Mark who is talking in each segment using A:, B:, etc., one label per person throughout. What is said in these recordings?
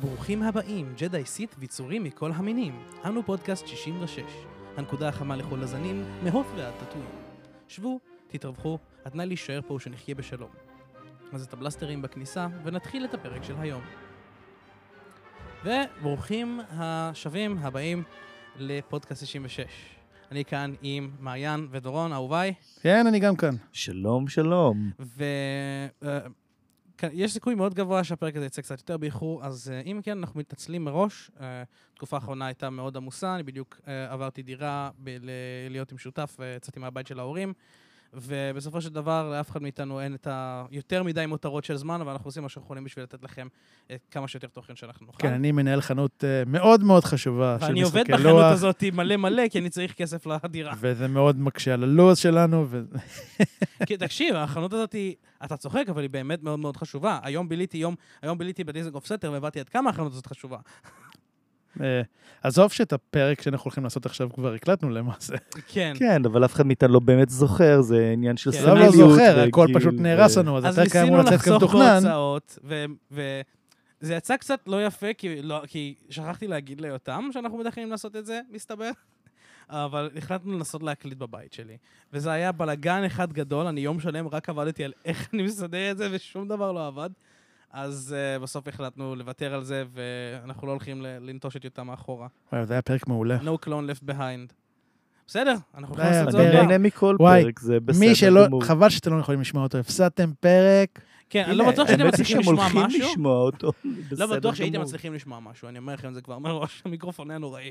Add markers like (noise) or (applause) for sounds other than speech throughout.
A: ברוכים הבאים, ג'די סית ויצורים מכל המינים. אנו פודקאסט 66, הנקודה החמה לכל הזנים, מהוף ועד תתויים. שבו, תתרווחו, התנאי להישאר פה הוא שנחיה בשלום. אז את הבלסטרים בכניסה, ונתחיל את הפרק של היום. וברוכים השבים הבאים לפודקאסט 66. אני כאן עם מעיין ודורון, אהוביי.
B: כן, אני גם כאן.
A: נכון.
C: שלום, שלום.
A: ויש אה, כן, סיכוי מאוד גבוה שהפרק הזה יצא קצת יותר באיחור, אז אה, אם כן, אנחנו מתנצלים מראש. אה, התקופה האחרונה הייתה מאוד עמוסה, אני בדיוק אה, עברתי דירה ב- ל- להיות עם שותף ויצאתי מהבית של ההורים, ובסופו של דבר לאף אחד מאיתנו אין את ה... יותר מדי מותרות של זמן, אבל אנחנו עושים מה שאנחנו יכולים בשביל לתת לכם אה, כמה שיותר תוכן שאנחנו נוכל.
B: כן, אני מנהל חנות אה, מאוד מאוד חשובה של
A: ואני עובד
B: משחקי
A: בחנות
B: לוח,
A: הזאת מלא מלא, כי אני צריך כסף לדירה.
B: וזה מאוד מקשה על הלו"ז שלנו, ו-
A: כי תקשיב, החנות הזאת, היא- אתה צוחק, אבל היא באמת מאוד מאוד חשובה. היום ביליתי יום, היום ביליתי בדיזנגוף סתר והבנתי עד כמה החנות הזאת חשובה.
B: אה, עזוב שאת הפרק שאנחנו הולכים לעשות עכשיו כבר הקלטנו למעשה.
A: כן.
C: כן, אבל אף אחד מאיתנו לא באמת זוכר, זה עניין של
A: כן.
B: עזוב לא
C: סמליות.
B: זוכר,
C: וגיל,
B: הכל פשוט
C: ו-
B: נהרס לנו, אז
A: אז
B: הפרק היה
A: ניסינו
B: אמור לצאת
A: לחסוך
B: כמתוכנן.
A: בהוצאות, ו- ו- זה יצא קצת לא יפה, כי לא- כי שכחתי להגיד ליותם שאנחנו מתכננים לעשות את זה, מסתבר. אבל החלטנו לנסות להקליט בבית שלי. וזה היה בלאגן אחד גדול, אני יום שלם רק עבדתי על איך אני מסדר את זה, ושום דבר לא עבד. אז uh, בסוף החלטנו לוותר על זה, ואנחנו לא הולכים ל- לנטוש את יותם מאחורה.
B: וואי, זה היה פרק מעולה.
A: No clone left behind. בסדר, אנחנו יכולים
B: היה
A: לעשות את זה
C: אני
A: עוד
B: פרק-
A: פעם.
C: נהנה מכל
B: וואי,
C: פרק, זה בסדר
B: מי שלא,
C: גמור.
B: חבל שאתם לא יכולים לשמוע אותו, הפסדתם פרק.
A: כן, אני
C: הנה,
A: לא בטוח שאתם
C: האמת היא
A: מצליחים
C: שהם
A: לשמוע
C: הולכים
A: משהו.
C: לשמוע אותו, בסדר
A: לא בטוח שהייתם
C: גמור.
A: מצליחים לשמוע משהו, אני אומר לכם את זה כבר מראש, המיקרופון היה נוראי.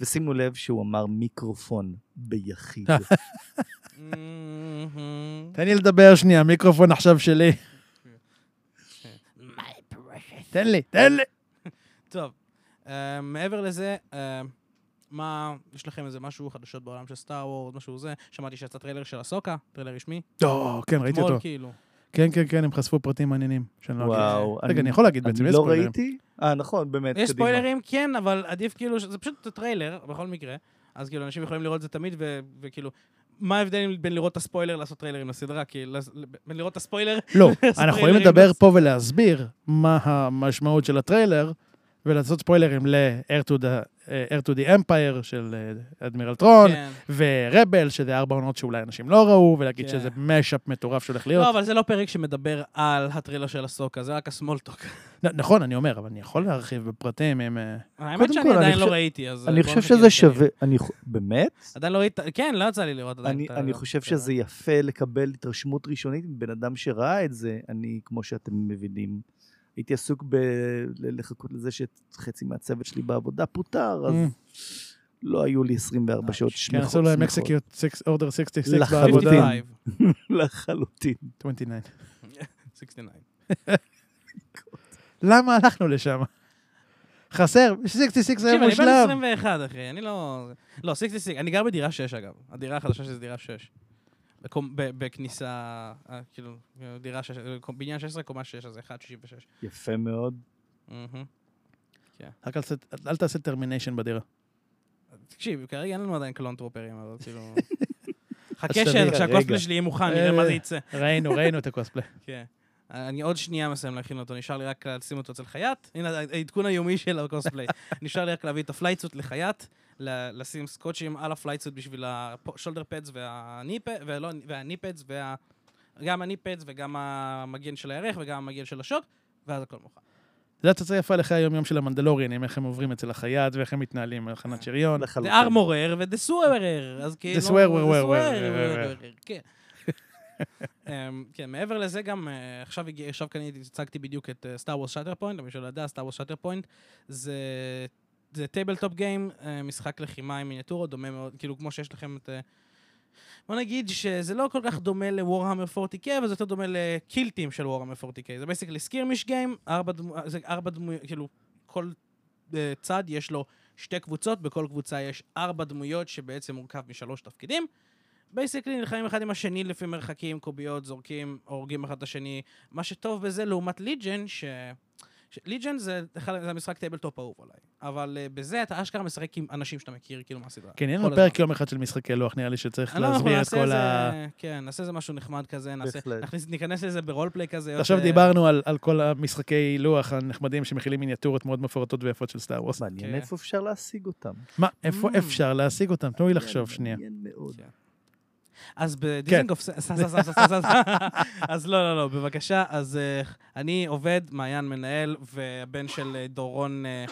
C: ושימו לב שהוא אמר מיקרופון ביחיד.
B: אה, אוקיי.
A: Mm-hmm.
B: תן לי לדבר שנייה, מיקרופון עכשיו שלי.
A: My precious.
B: תן לי, תן לי.
A: טוב, אה, מעבר לזה, אה, מה, יש לכם איזה משהו, חדשות בעולם של סטאר וורס, משהו זה? שמעתי שיצא טריילר של הסוקה, טריילר רשמי.
B: או, כן, ראיתי
A: אתמול,
B: אותו.
A: כאילו.
B: כן, כן, כן, הם חספו פרטים מעניינים. שאני לא אגיד.
C: וואו.
B: רגע, אני יכול להגיד בעצם,
C: אני
B: יש
C: לא
B: ספוילרים.
C: ראיתי? אה, נכון, באמת,
A: יש
C: קדימה.
A: ספוילרים, כן, אבל עדיף כאילו, ש- זה פשוט טריילר, בכל מקרה. אז כאילו, אנשים יכולים לראות את זה תמיד, ו- וכאילו, מה ההבדל בין לראות את הספוילר לעשות טריילרים לסדרה? כי לס- בין לראות את הספוילר (laughs)
B: לא, אנחנו יכולים
A: ספוילרים
B: לדבר
A: לא-
B: פה ולהסביר מה המשמעות של הטריילר, ולעשות ספוילרים ל-Air to the- אה, Air to the Empire של אה, אדמירל
C: נכון.
B: טרון,
A: כן.
B: ורבל, שזה ארבע עונות שאולי אנשים לא ראו, ולהגיד
A: כן.
B: שזה משאפ מטורף שהולך
A: לא,
B: להיות.
A: אבל זה לא פרק שמדבר על הטרילר של הסוקה, זה רק הסמולטוק.
B: נ- נכון, אני אומר, אבל אני יכול להרחיב בפרטים אם... אה,
A: האמת שאני
C: כל, אני
A: עדיין לא
C: חושב-
A: ראיתי, אז...
C: אני
A: בוא אה,
C: חושב
A: נחכה
C: שזה
A: לטריילר.
C: שווה, אני חו- באמת?
A: עדיין לא ראית, כן, לא יצא לי לראות עדיין.
C: אני,
A: את ה-
C: אני חושב
A: בסדר.
C: שזה יפה לקבל התרשמות ראשונית מבן אדם שראה את זה. אני, כמו שאתם מבינים, הייתי עסוק בלחכות לזה שחצי מהצוות שלי בעבודה פוטר, אז
B: Mm.
C: לא היו לי
A: אה,
C: 24 שעות
B: כן,
C: שמחות.
B: עשו להם
C: שמחות.
B: אקסקיוט, אורדר 66
C: לחלוטין.
B: בעבודה.
A: 55.
C: לחלוטין.
B: 29.
A: 69.
B: למה הלכנו לשם? חסר, 66 היה
A: תקשיב, אני בן
B: מושלם.
A: 21, אחי, אני לא... לא, 66, אני גר בדירה 6, אגב. הדירה החדשה שזה דירה 6. בקום- ב- בכניסה, אה, כאילו, דירה 6, בניין 16, קומה 6, אז 1, 66.
C: יפה מאוד.
B: רק אל תעשה- אל תעשה טרמיניישן בדירה.
A: תקשיב, כרגע אין לנו עדיין קלון טרופרים, אבל
B: (laughs)
A: כאילו... חכה
B: אז
A: ש-
B: תביא,
A: שהקוספלי
C: רגע.
A: שלי יהיה מוכן, נראה מה זה
B: אה.
A: יצא.
B: ראינו, ראינו את הקוספלי.
A: כן. אני עוד שנייה מסיים להכין אותו, נשאר לי רק לשים אותו אצל חייט. הנה העדכון היומי של הקוספליי. נשאר לי רק להביא את הפלייצות לחייט, ל- לשים סקוטשים על הפלייצות בשביל השולדר פדס לא, והניפדס, גם הניפדס וגם המגן של הירך וגם המגן של השוט, ואז הכל מוכן.
B: זה הצצה יפה לחיי היום-יום של המנדלוריאנים, איך הם עוברים אצל החייט ואיך הם מתנהלים על
A: אה,
B: הכנת שריון.
A: The
C: לחלוטין.
A: armorer ו-the swearer, אז כאילו...
B: swearer,
A: the
B: where, where,
A: swearer, כן. אמ, כן, מעבר לזה גם, אה, עכשיו הגיע- עכשיו קניתי, הצגתי בדיוק את אה, סטאר וורס שאטר פוינט, למי שלא יודע, סטאר וורס שאטר פוינט זה טייבל טופ גיים, משחק לחימה עם מיניאטורות, דומה מאוד, כאילו כמו שיש לכם את... אה, בוא נגיד שזה לא כל כך דומה לוורהמר 40K, אבל זה יותר דומה לקילטים של וורהמר 40K. זה בעסקלי סקירמיש גיים, ארבע דמו- זה ארבע דמויות, כאילו, כל אה, צד יש לו שתי קבוצות, בכל קבוצה יש ארבע דמויות שבעצם מורכב משלוש תפקידים. בייסקלי נלחמים אחד עם השני לפי מרחקים, קוביות, זורקים, הורגים אחד את השני. מה שטוב בזה לעומת ליג'ן, ש... ליג'ן זה אחד- זה המשחק טייבלטופ האהוב עליי, אבל אה, בזה אתה אשכרה משחק עם אנשים שאתה מכיר, כאילו, מהסדרה.
B: כן, יהיה
A: כל
B: לנו
A: הזמן.
B: פרק יום אחד של משחקי לוח, נראה לי שצריך
A: אה, לא, אנחנו
B: להסביר את
A: נעשה
B: כל
A: איזה-
B: ה...
A: כן, נעשה איזה משהו נחמד כזה, נעשה...
C: בהחלט.
A: נכניס- ניכנס לזה ברולפליי כזה.
B: עכשיו
A: יותר- אה,
B: דיברנו על, על כל המשחקי לוח הנחמדים שמכילים מיניאטורות מאוד מפורטות ויפות של סטאר וורס.
C: מעניין
A: כן.
C: איפה אפשר להשיג אותם.
B: מה, איפה
A: Mm.
B: אפשר להשיג אותם? תנו לי לחשוב שנייה.
C: מעניין מאוד.
A: כן. אז
B: כן.
A: בדיזינגוף, ס- ס- ס- ס- ס- ס- ס- אז לא, לא, לא, בבקשה. אז אה, אני עובד, מעיין מנהל, והבן של אה, דורון אה,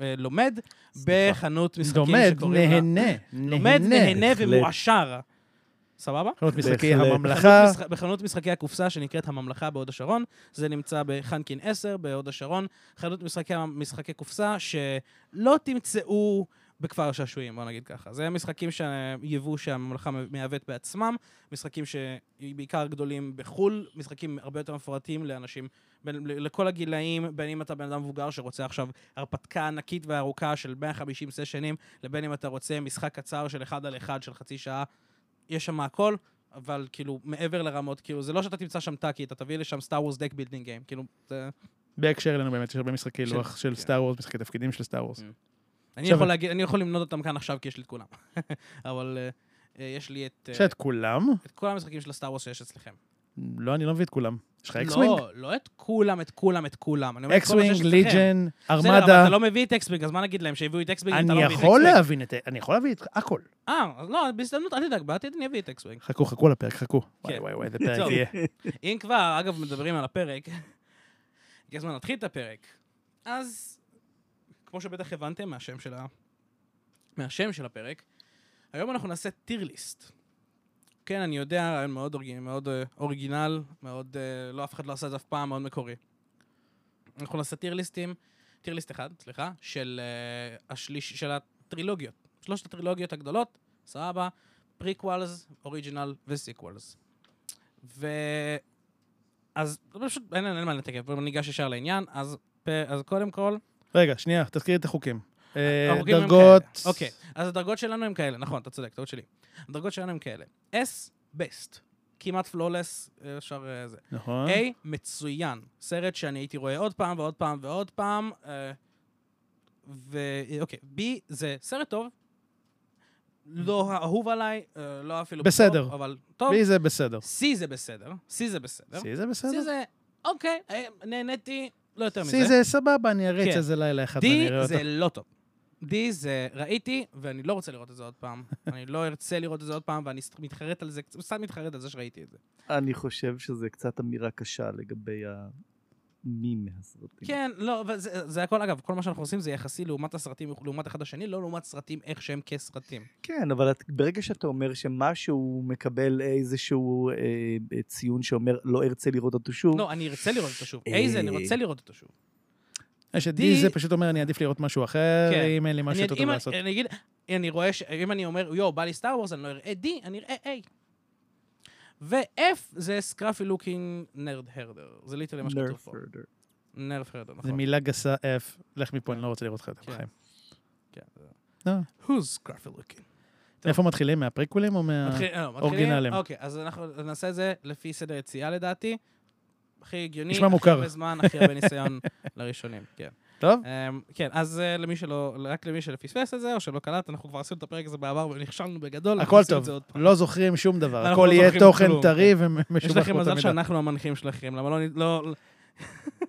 A: אה, לומד, בחנות משחקים
B: לומד,
A: שקוראים לה... (laughs)
B: נהנה,
A: לומד, נהנה
C: בהחלט.
A: ומועשר. סבבה?
B: חנות משחקי
C: בהחלט.
B: הממלכה,
A: בחנות משח- בחנות משחקי הקופסה שנקראת הממלכה בהוד השרון, זה נמצא בחנקין 10 בהוד השרון, חנות משחקי, משחקי קופסה שלא תמצאו בכפר השעשועים, בוא נגיד ככה. זה משחקים שהיבוא שהממלכה מייבאת בעצמם, משחקים שבעיקר גדולים בחו"ל, משחקים הרבה יותר מפורטים לאנשים, בין, ל- לכל הגילאים, בין אם אתה בן אדם מבוגר שרוצה עכשיו הרפתקה ענקית וארוכה של 150 סשנים, לבין אם אתה רוצה משחק קצר של אחד על אחד של חצי שעה, יש שם הכל. אבל כאילו, מעבר לרמות, כאילו, זה לא שאתה תמצא שם טאקי, אתה תביא לשם סטאר וורס דק בילדינג גיים, כאילו, זה...
B: בהקשר אלינו באמת, יש הרבה משחקי
A: של-
B: לוח של
A: כן.
B: סטאר וורס, משחקי תפקידים של סטאר וורס.
A: Mm. אני
B: עכשיו-
A: יכול להגיד, אני יכול למנות אותם כאן עכשיו, כי יש לי את כולם. (laughs) אבל אה, אה, יש לי את... אה,
B: יש לך את כולם?
A: את כל המשחקים של הסטאר וורס שיש אצלכם.
B: לא, אני לא מביא את כולם. יש לך אקסווינג?
A: לא, לא את כולם, את כולם, את כולם. אני אומר את כל מה שיש
B: אקסווינג,
A: אצלכם.
B: ליג'ן,
A: בסדר, אבל
B: ארמדה.
A: אתה לא מביא את אקסווינג, אז מה נגיד להם, שהביאו את אקסווינג, אתה לא
B: אני
A: מביא את
B: יכול
A: אקסווינג?
B: להבין את... אני יכול להביא את הכל.
A: אה, אז לא, בהזדמנות, אל תדאג, בעתיד אני אביא את אקסווינג.
B: חכו, חכו לפרק, חכו. וואי
A: כן.
B: וואי וואי, איזה פרק
A: טוב.
B: יהיה.
A: אם כבר, אגב, מדברים על הפרק, הגיע הזמן להתחיל את הפרק. אז, כמו שבטח הבנתם מהשם של, ה... מהשם של הפרק, היום אנחנו נעשה טיר ליסט. כן, אני יודע, רעיון מאוד, אורג... מאוד אה, אוריגינל, מאוד, אה, לא, אף אחד לא עשה את זה אף פעם, מאוד מקורי. אנחנו נעשה טיר ליסטים, טיר ליסט אחד, סליחה, של, uh, השליש, של הטרילוגיות. שלושת הטרילוגיות הגדולות, סבבה, פריקוולס, אוריג'ינל וסיקוולס. ו... אז פשוט אין, אין, אין מה לתקף, בואו ניגש ישר לעניין, אז, פ... אז קודם כל,
B: רגע, שנייה, תזכירי את החוקים. אה,
A: החוקים הם
B: דרגות...
A: כאלה. אוקיי, אז הדרגות שלנו הם כאלה, נכון, אתה צודק, טעות שלי. הדרגות שלנו הם כאלה. S, best, כמעט פלולס, אפשר אה, זה.
B: נכון.
A: A, מצוין. סרט שאני הייתי רואה עוד פעם ועוד פעם ועוד פעם. אה, ו... אוקיי, B זה סרט טוב. לא האהוב עליי, אה, לא אפילו...
B: בסדר.
A: טוב, אבל טוב.
B: בי זה בסדר.
A: C זה בסדר. C זה בסדר.
B: סי זה
A: C
B: בסדר?
A: זה, אוקיי, אה, נהניתי, לא יותר מזה.
B: סי זה סבבה, אני אריץ
A: כן.
B: איזה לילה אחד ואני אראה
A: D
B: אותו.
A: זה לא טוב. D זה ראיתי, ואני לא רוצה לראות את זה עוד פעם. (laughs) אני לא ארצה לראות את זה עוד פעם, ואני סת- מתחרט על זה, קצת מתחרט על זה שראיתי את זה.
C: אני חושב שזה קצת אמירה קשה לגבי המים מהסרטים.
A: כן, לא, אבל זה זה הכל, אגב, כל מה שאנחנו עושים זה יחסי לעומת הסרטים, לעומת אחד השני, לא לעומת סרטים איך שהם כסרטים.
C: כן, אבל את, ברגע שאתה אומר שמשהו מקבל איזשהו אה, אה, ציון שאומר לא ארצה לראות אותו שוב,
A: לא, אני ארצה לראות אותו שוב.
C: אה.
A: A זה, אני רוצה לראות אותו שוב.
B: יש את
A: D-
B: די אה, זה פשוט אומר, אני עדיף לראות משהו אחר,
A: כן.
B: אם אין לי משהו
A: אני-
B: יותר טוב
A: אם אני- אה,
B: לעשות.
A: אני אגיד, אני רואה, ש- אם אני אומר, יואו, בא לי סטאר וורס, אני לא אראה D, אני אראה A. ו-F זה סקראפי לוקינג נרד הרדר. זה ליטרלי מה שכתוב פה.
C: נרפרדר.
A: נרד הרדר, נכון.
B: זו מילה גסה F, לך מפה, אני לא רוצה לראות אותך יותר
A: כן.
B: בחיים.
A: כן, זה-
B: לא.
A: Who's scruffy looking?
B: איפה מתחילים? מהפריקוולים או מה...
A: מתחיל- לא, מתחילים-
B: אה. אורגינלים.
A: אוקיי, אז אנחנו נעשה את זה לפי סדר יציאה לדעתי. הכי הגיוני,
B: נשמע
A: הכי
B: מוכר.
A: הרבה זמן, הכי הרבה ניסיון (laughs) לראשונים, כן.
B: טוב?
A: אמ, כן, אז אה, למי שלא, רק למי שפספס את זה, או שלא קלט, אנחנו כבר עשינו את הפרק הזה בעבר ונכשלנו בגדול. אנחנו
B: הכל
A: עושים את
B: טוב.
A: זה עוד פעם.
B: לא זוכרים שום דבר,
A: אנחנו
B: הכל
A: לא
B: יהיה
A: זוכרים
B: תוכן
A: כלום, כן.
B: טרי
A: יש
B: ומשובח
A: לכם
B: באותה
A: מזל
B: מידה.
A: שאנחנו המנחים שלכם, למה לא... נ- לא-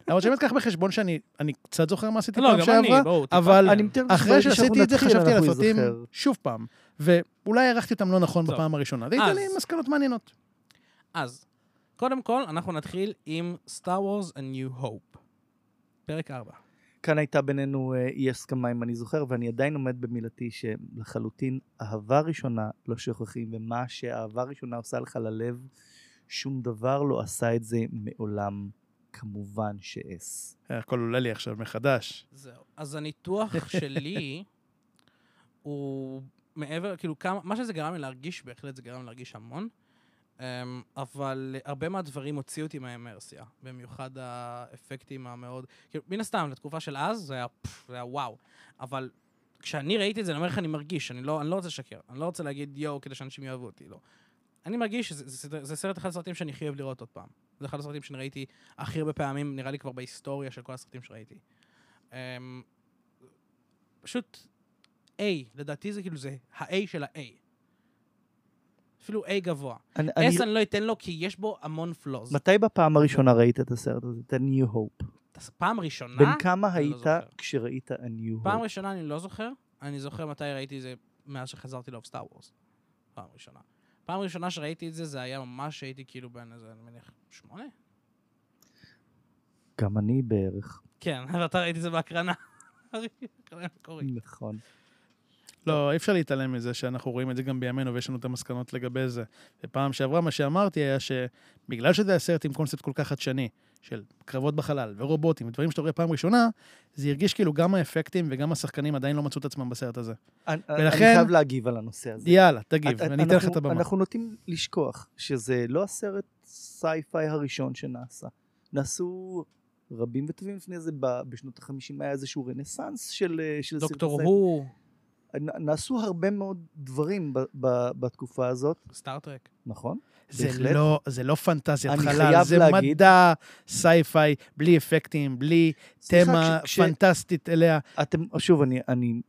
B: למרות שבאמת קח בחשבון שאני אני קצת זוכר מה עשיתי
A: לא,
B: פעם
A: גם אני,
B: שעברה,
A: בואו, טיפה.
B: אבל
C: אני מתאר לעצמי
B: אחרי
C: שברגע שאנחנו
B: שעשיתי את זה
C: נתחיל,
B: חשבתי על
C: אנחנו
B: הסרטים
C: נזכר.
B: שוב פעם, ואולי הערכתי אותם לא נכון
A: טוב.
B: בפעם הראשונה. זה ייתן
A: אז-
B: לי מסקנות מעניינות.
A: אז, קודם כל, אנחנו נתחיל עם Star Wars A New Hope. פרק 4.
C: כאן הייתה בינינו אה, אי הסכמה אם אני זוכר, ואני עדיין עומד במילתי שלחלוטין אהבה ראשונה לא שוכחים, ומה שאהבה ראשונה עושה לך ללב, שום דבר לא עשה את זה מעולם. כמובן שאס.
B: אה, הכל עולה לי עכשיו מחדש.
A: זהו. אז הניתוח שלי הוא מעבר, כאילו, כמה, מה שזה גרם לי להרגיש, בהחלט זה גרם לי להרגיש המון, אמ, אבל הרבה מהדברים הוציאו אותי מהאמרסיה, במיוחד האפקטים המאוד, כאילו, מן הסתם, לתקופה של אז זה היה, פפ, זה היה וואו, אבל כשאני ראיתי את זה, אני אומר לך, אני מרגיש, אני לא, אני לא רוצה לשקר, אני לא רוצה להגיד יואו כדי שאנשים יאהבו אותי, לא. אני מרגיש שזה זה, זה, זה סרט אחד הסרטים שאני הכי אוהב לראות עוד פעם. זה אחד הסרטים שאני ראיתי הכי הרבה פעמים, נראה לי כבר בהיסטוריה של כל הסרטים שראיתי. אמ, פשוט A, לדעתי זה כאילו זה ה-A של ה-A. אפילו A גבוה.
C: אני,
A: S
C: אני...
A: אני לא אתן לו כי יש בו המון פלוז.
C: מתי בפעם הראשונה ראית את הסרט הזה? את ה-New Hope.
A: פעם ראשונה,
C: בן כמה
A: אני לא
C: היית
A: זוכר.
C: כשראית ה-New
A: פעם
C: Hope?
A: ראשונה אני לא זוכר, אני זוכר מתי ראיתי את זה מאז שחזרתי לאהוב סטאר וורס. פעם ראשונה. פעם ראשונה שראיתי את זה, זה היה ממש שהייתי כאילו בן איזה, אני מניח, שמונה?
C: גם אני בערך.
A: כן, (laughs) ואתה ראיתי את זה בהקרנה. (laughs) הקרנה המקורית.
C: נכון.
B: לא, אי אפשר להתעלם מזה שאנחנו רואים את זה גם בימינו ויש לנו את המסקנות לגבי זה. ופעם שעברה מה שאמרתי היה שבגלל שזה היה סרט עם קונספט כל כך חדשני, של קרבות בחלל ורובוטים ודברים שאתה רואה פעם ראשונה, זה הרגיש כאילו גם האפקטים וגם השחקנים עדיין לא מצאו את עצמם בסרט הזה.
C: אני, ולכן... אני
B: ולכן-
C: חייב להגיב על הנושא הזה.
B: יאללה, תגיב,
C: אנ-
B: אני אתן לך
C: אנחנו-
B: את הבמה.
C: אנחנו נוטים לשכוח שזה לא הסרט סייפיי הראשון שנעשה. נעשו רבים וטובים לפני זה, ב- בשנות ה-50 היה איזשהו רנסאנס של אה, של סרטי
A: דוקטור
C: סייפיי.
A: הוא,
C: נ- נעשו הרבה מאוד דברים ב- ב- בתקופה הזאת,
A: סטארטרק.
C: נכון?
B: זה
C: בהחלט.
B: לא, זה לא פנטזיית
C: אני
B: חלל,
C: חייב
B: זה
C: להגיד-
B: מדע, סייפיי, בלי אפקטים, בלי
C: סליחה,
B: תמה
C: כש- כש-
B: פנטסטית אליה.
C: אתם, שוב, אני, אני,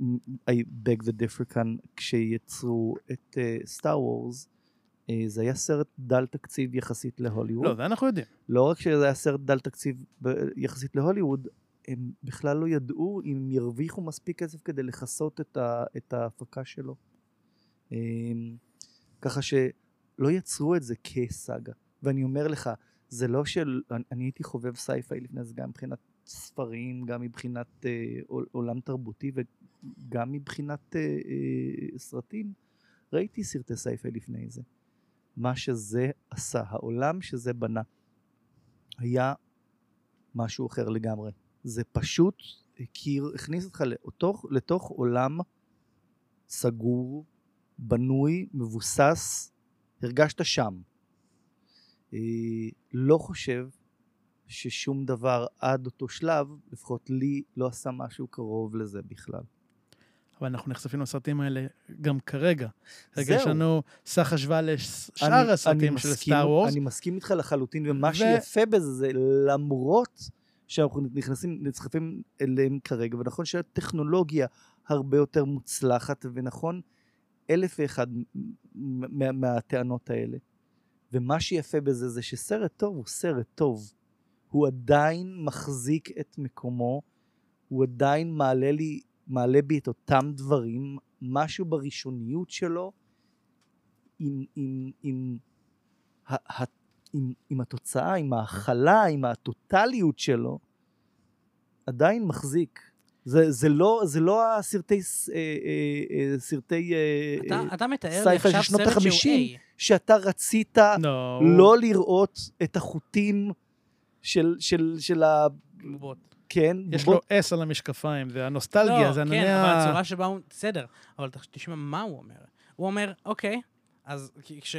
C: I beg the differ כאן, כשיצרו את אה, סטאר וורס, אה, זה היה סרט דל תקציב יחסית להוליווד.
B: לא, זה אנחנו יודעים.
C: לא רק שזה היה סרט דל תקציב ב- יחסית להוליווד, הם בכלל לא ידעו אם הם ירוויחו מספיק כסף כדי לכסות את, ה, את ההפקה שלו. אמ, ככה שלא יצרו את זה כסאגה. ואני אומר לך, זה לא של... אני, אני הייתי חובב סייפיי לפני זה, גם מבחינת ספרים, גם מבחינת אה, עול- עולם תרבותי וגם מבחינת אה, אה, סרטים. ראיתי סרטי סייפיי לפני זה. מה שזה עשה, העולם שזה בנה. היה משהו אחר לגמרי. זה פשוט הכיר, הכניס אותך לתוך, לתוך עולם סגור, בנוי, מבוסס, הרגשת שם. אה, לא חושב ששום דבר עד אותו שלב, לפחות לי, לא עשה משהו קרוב לזה בכלל.
B: אבל אנחנו נחשפים לסרטים האלה גם כרגע. רגע,
C: זהו.
B: יש לנו סך השוואה לשאר
C: אני-
B: הסרטים
C: אני
B: של
C: מסכים-
B: סטאר וורס.
C: אני מסכים איתך לחלוטין, ומה
B: ו-
C: שיפה בזה זה למרות שאנחנו נכנסים, נסחפים אליהם כרגע, ונכון שהטכנולוגיה הרבה יותר מוצלחת, ונכון אלף ואחד מ- מ- מה- מהטענות האלה. ומה שיפה בזה זה שסרט טוב הוא סרט טוב. הוא עדיין מחזיק את מקומו, הוא עדיין מעלה לי, מעלה בי את אותם דברים, משהו בראשוניות שלו, עם, עם, עם, ה- ה- עם, עם התוצאה, עם ההכלה, עם הטוטליות שלו, עדיין מחזיק. זה, זה, לא, זה לא הסרטי, ס- אה, אה, אה, סרטי אה,
A: אתה-
C: אה,
A: אתה מתאר לי
C: סייפיי של
A: עכשיו
C: שנות
A: סרט שהוא
C: ה-50.
A: A.
C: שאתה רצית
B: לא,
C: לא לראות את החוטים של, של, של ה...
A: בוט.
C: כן,
B: יש
C: בוא-
B: לו אס על המשקפיים, זה
A: לא,
B: הנוסטלגיה, זה
A: כן,
B: ענני
A: אבל
B: ה...
A: הצורה שבה הוא... בסדר, אבל תש- תשמע מה הוא אומר. הוא אומר, אוקיי, אז כי- כש...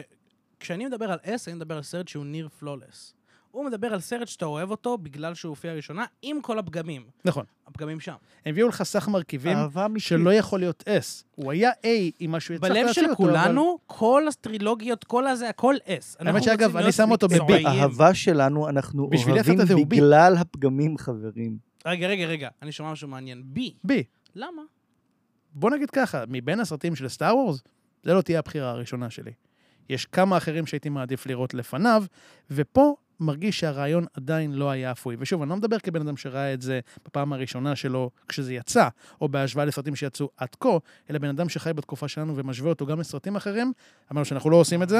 A: כשאני מדבר על S, אני מדבר על סרט שהוא ניר פלולס. הוא מדבר על סרט שאתה אוהב אותו בגלל שהוא הופיע ראשונה, עם כל הפגמים.
B: נכון.
A: הפגמים שם.
B: הם הביאו לך סך מרכיבים
C: אהבה מקרית.
B: שלא יכול להיות S. הוא היה A עם מה שהוא יצא
A: בלב של כולנו, כל הטרילוגיות, כל הזה, הכל S. אנחנו
B: שאגב,
A: רוצים
B: אני
A: להיות
B: שם אותו ב-B.
A: מקצועיים.
C: האהבה שלנו, אנחנו
B: בשביל
C: אוהבים
B: הסרט הזה הוא בי.
C: בגלל הפגמים, חברים.
A: רגע, רגע, רגע, אני שומע משהו מעניין. B.
B: B.
A: למה?
B: בוא נגיד ככה, מבין הסרטים של סטאר וורס, זה לא תהיה הבחירה הראשונה שלי. יש כמה אחרים שהייתי מעדיף לראות לפניו, ופה מרגיש שהרעיון עדיין לא היה אפוי. ושוב, אני לא מדבר כבן אדם שראה את זה בפעם הראשונה שלו כשזה יצא, או בהשוואה לסרטים שיצאו עד כה, אלא בן אדם שחי בתקופה שלנו ומשווה אותו גם לסרטים אחרים, אמרנו שאנחנו לא עושים את זה,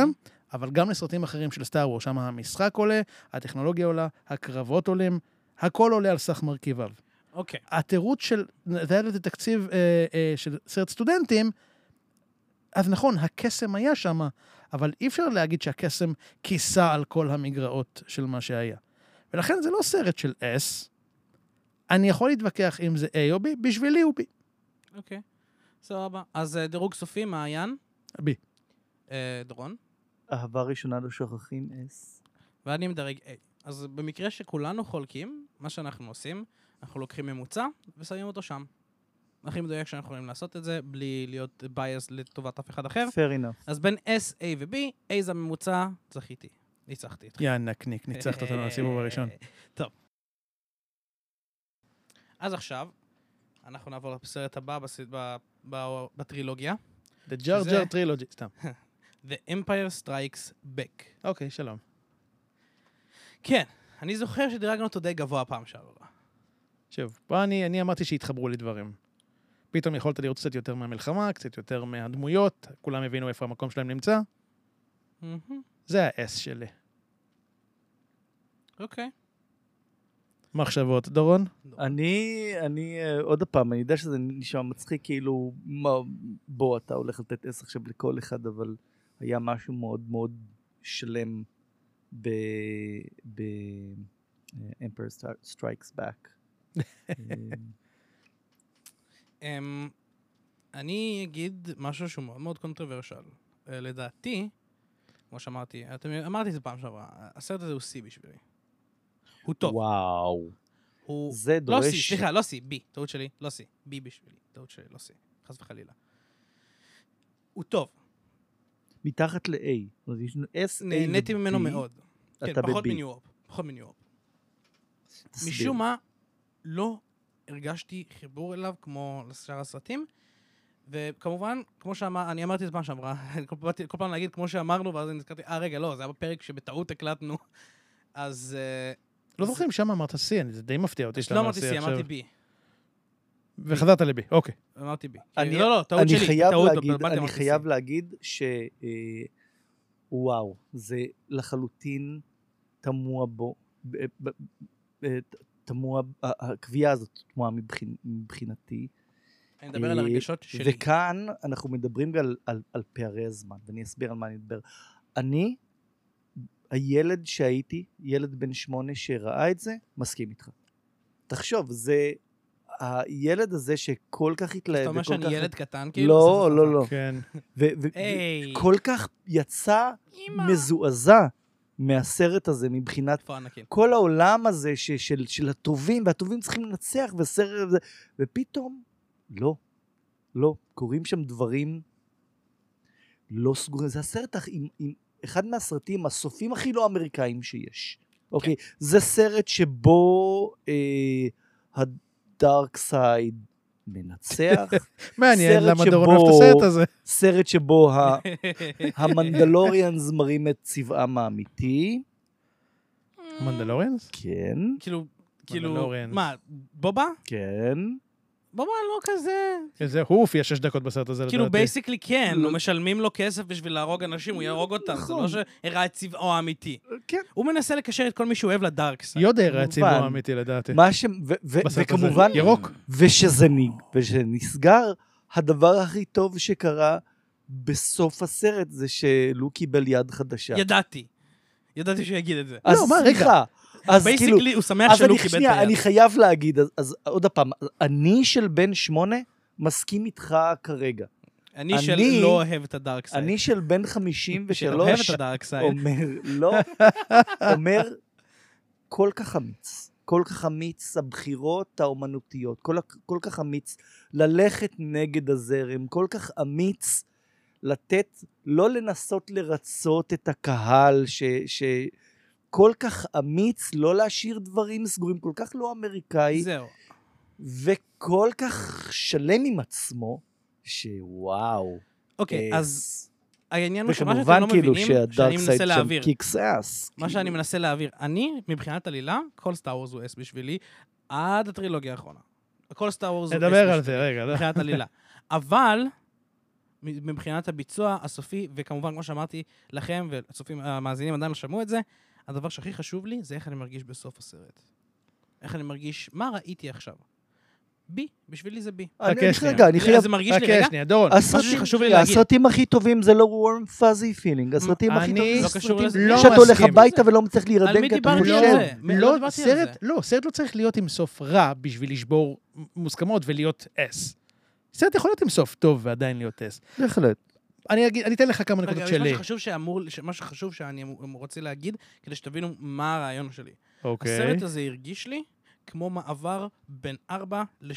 B: אבל גם לסרטים אחרים של סטאר וורס, שם המשחק עולה, הטכנולוגיה עולה, הקרבות עולים, הכל עולה על סך מרכיביו.
A: אוקיי.
B: התירוץ של, זה היה לזה תקציב אה, אה, של סרט סטודנטים, אז נכון, הקסם היה שם, אבל אי אפשר להגיד שהקסם כיסה על כל המגרעות של מה שהיה. ולכן זה לא סרט של S, אני יכול להתווכח אם זה A או B, בשבילי הוא B.
A: אוקיי. סבבה. אז אה, דירוג סופי, מעיין?
B: B.
A: אה, דורון?
C: אהבה ראשונה לא שוכחים אס.
A: ואני מדרג A. אז במקרה שכולנו חולקים, מה שאנחנו עושים, אנחנו לוקחים ממוצע ושמים אותו שם. הכי מדויק שאנחנו יכולים לעשות את זה, בלי להיות bias לטובת אף אחד אחר.
C: Fair enough.
A: אז בין S, A ו-B, A זה הממוצע, זכיתי. ניצחתי אותך.
B: יא נקניק, ניצחת אותנו לסיבוב הראשון.
A: (laughs) טוב. אז עכשיו, אנחנו נעבור לסרט הבא בסד- ב- ב- בטרילוגיה,
B: The Jar
A: שזה-
B: Jar Trilogy, סתם.
A: The Empire Strikes Back.
B: אוקיי, שלום.
A: כן, אני זוכר שדירגנו אותו די גבוה פעם שעברה.
B: שוב, פה אני, אני אמרתי שהתחברו לי דברים. פתאום יכולת לראות קצת יותר מהמלחמה, קצת יותר מהדמויות, כולם הבינו איפה המקום שלהם נמצא.
A: מהמם,
B: זה האס שלי.
A: אוקיי.
B: מחשבות, דורון?
C: אני, אני, אה, עוד פעם, אני יודע שזה נשמע מצחיק, כאילו, מה, בוא, אתה הולך לתת עשר עכשיו לכל אחד, אבל היה משהו מאוד מאוד שלם ב... ב... אה, Emperor Stri- Strikes
A: (laughs)
C: Back. אה,
A: אמ, אני אגיד משהו שהוא מאוד מאוד קונטרוברשל. אה, לדעתי, כמו שאמרתי, אתם, אמרתי את זה פעם שעברה, הסרט הזה הוא C בשבילי. הוא טוב.
C: וואו.
A: הוא...
C: זה
A: לא C,
C: דורש...
A: סליחה, לא C, B, טעות שלי, לא C, B בשבילי, טעות שלי, לא C, חס וחלילה. הוא טוב,
C: מתחת ל-A. זאת אומרת, יש לנו S, A
A: נהניתי
C: ו-B.
A: ממנו מאוד. כן,
C: אתה
A: פחות
C: ב-B.
A: מניו-אורפ, פחות מניו-אורפ.
C: תסביר.
A: משום מה, לא הרגשתי חיבור אליו כמו לשאר הסרטים. וכמובן, כמו שאמר, (laughs) אני אמרתי את מה שאמרה, כל פעם באתי- כל פעם להגיד כמו שאמרנו, ואז אני נזכרתי, אה רגע, לא, זה היה בפרק שבטעות הקלטנו. (laughs) אז אה,
B: לא זוכר אם שם אמרת C, אני- זה די מפתיע אותי שאתה
A: לא
B: אומר
A: אמרתי
B: C
A: C,
B: עכשיו.
A: אמרתי B.
B: וחזרת לבי, אוקיי.
A: אמרתי B.
C: אני-
A: לא, לא, טעות
C: אני
A: שלי,
C: חייב
A: טעות,
C: להגיד,
A: בלבלתי,
C: אני
A: אמרתי C.
C: חייב להגיד ש... אה, וואו, זה לחלוטין תמוה בו, ב- ב- ב- ת- תמוה, ה- הקביעה הזאת תמוה מבחין- מבחינתי.
A: אני מדבר על
C: אה,
A: הרגשות שלי.
C: וכאן אנחנו מדברים על, על, על פערי הזמן, ואני אסביר על מה אני מדבר. אני, הילד שהייתי, ילד בן שמונה שראה את זה, מסכים איתך. תחשוב, זה הילד הזה שכל כך התלהב
A: אתה אומר
C: וכל
A: שאני
C: כך...
A: ילד קטן, כאילו?
C: לא,
A: זה- זה-
C: לא, לא.
B: כן.
C: ו- ו-
A: היי.
C: וכל כך יצא
A: אמא.
C: מזועזע מהסרט הזה מבחינת
A: איפה (laughs) הענקים?
C: כל העולם הזה ש- של, של הטובים, והטובים צריכים לנצח, וסרט, וזה- ופתאום, לא, לא, קורים שם דברים לא סגורים. זה הסרט הכי- עם, עם אחד מהסרטים, הסופים הכי לא אמריקאים שיש. אוקיי, זה סרט שבו אה, הדארק סייד מנצח,
B: מעניין
C: סרט
B: למה דורון
C: שבו-
B: אוהב את הסרט הזה.
C: סרט שבו ה...
A: כאילו,
C: המנדלוריאנס מראים את צבעם האמיתי,
A: Mm.
B: מנדלוריאנס?
C: כן,
A: כאילו, כאילו,
B: מנדלוריאנס.
A: מה, בובה?
C: כן.
A: בובה לא כזה,
B: זה הוא הופיע שש דקות בסרט הזה, לדעתי.
A: כאילו בייסיקלי כן,
C: לא.
A: לא משלמים לו כסף בשביל להרוג אנשים, הוא יהרוג אותם, זה
C: נכון.
A: לא שהראה את צבעו האמיתי.
C: כן.
A: הוא מנסה לקשר את כל מי שהוא אוהב לדארק סייד.
B: יודע הראה את סיבוב
C: כמובן.
B: האמיתי, לדעתי.
C: מה ש... ו- ו-
B: כן. בסרט הזה.
C: וכמובן,
B: ירוק.
C: ושזה נג- ושנסגר, הדבר הכי טוב שקרה בסוף הסרט זה שלו קיבל יד חדשה.
A: ידעתי. ידעתי שהוא יגיד את זה.
C: אז
B: לא, מה, רגע.
C: סליחה, אז כאילו,
A: בייסיקלי הוא שמח
C: אז
A: שלא
C: אני,
A: קיבל
C: שנייה,
A: את
C: אני
A: היד.
C: חייב להגיד, אז, אז עוד פעם, אני של בן שמונה מסכים איתך כרגע.
A: אני
C: אני-
A: שלא אוהב את הדארק סייד. (laughs)
C: אני של בן
A: אוהב
C: 53
A: את הדארק סייד.
C: אומר, לא, אומר, כל כך אמיץ. כל כך אמיץ, הבחירות האומנותיות, כל, הכ- כל כך אמיץ ללכת נגד הזרם, כל כך אמיץ לתת, לא לנסות לרצות את הקהל, ש, ש, כל כך אמיץ לא להשאיר דברים סגורים, כל כך לא אמריקאי, זה...
A: זהו.
C: וכל כך שלם עם עצמו, שוואו.
A: אוקיי,
C: אה,
A: אז העניין הוא שמה שאתם
C: וכמובן
A: לא
C: כאילו
A: מבינים, שאני
C: שהדארק סייד
A: מנסה
C: שם כאילו.
A: להעביר.
C: קיקס אס.
A: מה שאני מנסה להעביר, אני, מבחינת עלילה, כל סטאר וורז הוא אס בשבילי, עד הטרילוגיה האחרונה. כל סטאר וורז הוא אס
B: נדבר
A: בשבילי.
B: על זה, רגע. לא.
A: מבחינת עלילה. אבל, מ- מבחינת הביצוע הסופי, וכמובן, כמו שאמרתי לכם, והצופים, המאזינים עדיין לא שמעו את זה, הדבר שהכי חשוב לי זה איך אני מרגיש בסוף הסרט. איך אני מרגיש, מה ראיתי עכשיו? בי, בשבילי זה בי.
C: אני-
B: חכה
C: אני-
B: שנייה.
C: רגע, אני
A: זה
C: חייב...
A: זה מרגיש לי
B: חכה
A: אוקיי, רגע,
B: אוקיי, שנייה, דורון.
C: הסרטים,
A: שחשוב לי להגיד.
C: הסרטים הכי טובים זה לא warm fuzzy feeling, הסרטים הכי
B: אני-
C: טובים
B: לא
C: זה
A: קשור
C: סרטים
A: לזה. לא
C: שאתה הולך
B: מסכים.
C: הביתה ולא מצליח
A: על מי
C: להירדם כי אתה
A: דיברתי
B: לא,
A: על
C: חושב.
A: זה? מ- לא
B: לא,
A: דיברתי על
B: סרט, לא, סרט לא צריך להיות עם סוף רע בשביל לשבור מוסכמות ולהיות אס. סרט יכול להיות עם סוף טוב ועדיין להיות אס.
C: בהחלט.
B: אני אגיד, אני אתן לך כמה
A: רגע,
B: נקודות
A: יש
B: שלי.
A: משהו חשוב שאמור, ש- משהו חשוב שאני אמור- רוצה להגיד, כדי שתבינו מה הרעיון שלי.
B: אוקיי.
A: הסרט הזה הרגיש לי כמו מעבר בין 4 ל-6,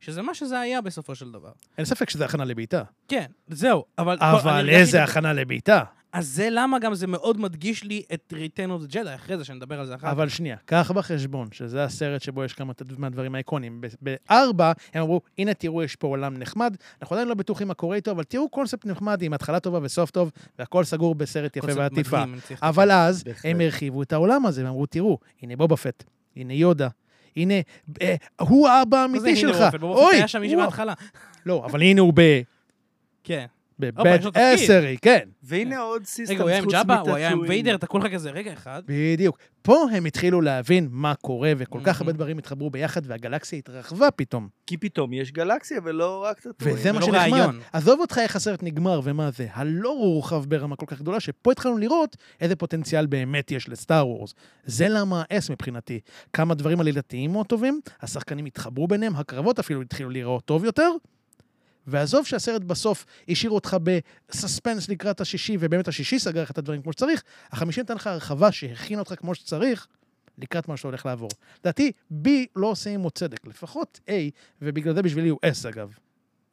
A: שזה מה שזה היה בסופו של דבר.
B: אין ספק שזה הכנה לבעיטה.
A: כן, זהו, אבל... כל-
B: אבל
A: אני הרגשתי
B: איזה
A: את-
B: הכנה לבעיטה.
A: אז זה למה גם זה מאוד מדגיש לי את Return of the Jedi, אחרי זה שנדבר על זה אחר כך.
B: אבל שנייה, קח בחשבון שזה הסרט שבו יש כמה תד- מהדברים האיקונים. ב- בארבע הם אמרו, הנה תראו, יש פה עולם נחמד, אנחנו עדיין לא בטוחים מה קורה איתו, אבל תראו קונספט נחמד עם התחלה טובה וסוף טוב, והכל סגור בסרט יפה
A: קונספט
B: ועטיפה.
A: מדהים, אני צריך-
B: אבל אז
C: בהחלט.
B: הם הרחיבו את העולם הזה, ואמרו, תראו, הנה בובה פט, הנה יודה. הנה, אה, הוא האבא
A: מה זה
B: האמיתי
A: הנה
B: שלך.
A: רופא? בבופת
B: אוי,
A: היה שם מישהו
B: הוא-
A: בהתחלה.
B: לא, אבל הנה הוא ב-
A: כן. הופה,
B: בבית
A: יש לו תפקיד.
B: עשרי, כן.
C: והנה עוד סיסטם
A: רגע,
C: חוץ
A: הוא היה עם ג'אבה, הוא היה עם
C: מטאצ'ואין.
A: ויידר, אתה כולך כזה, רגע אחד.
B: בדיוק. פה הם התחילו להבין מה קורה, וכל כך הרבה
A: Mhm.
B: דברים התחברו ביחד, והגלקסיה התרחבה פתאום.
C: כי פתאום יש גלקסיה ולא רק לא טאטואין.
B: וזה מה
A: ולא
B: שנחמד.
A: לא רעיון.
B: עזוב אותך איך הסרט נגמר ומה זה, הלא הורחב ברמה כל כך גדולה, שפה התחלנו לראות איזה פוטנציאל באמת יש לסטאר וורס. זה למה האס מבחינתי. כמה דברים עלילתיים מאוד טובים, השחקנים התחברו ביניהם, הקרבות אפילו התחילו להיראות טוב יותר. ועזוב שהסרט בסוף השאיר אותך בסספנס לקראת השישי, ובאמת השישי סגר לך את הדברים כמו שצריך, החמישי נתן לך הרחבה שהכינה אותך כמו שצריך, לקראת מה שאתה הולך לעבור. לדעתי, B לא עושה עמו צדק, לפחות A, ובגלל זה בשבילי הוא S אגב.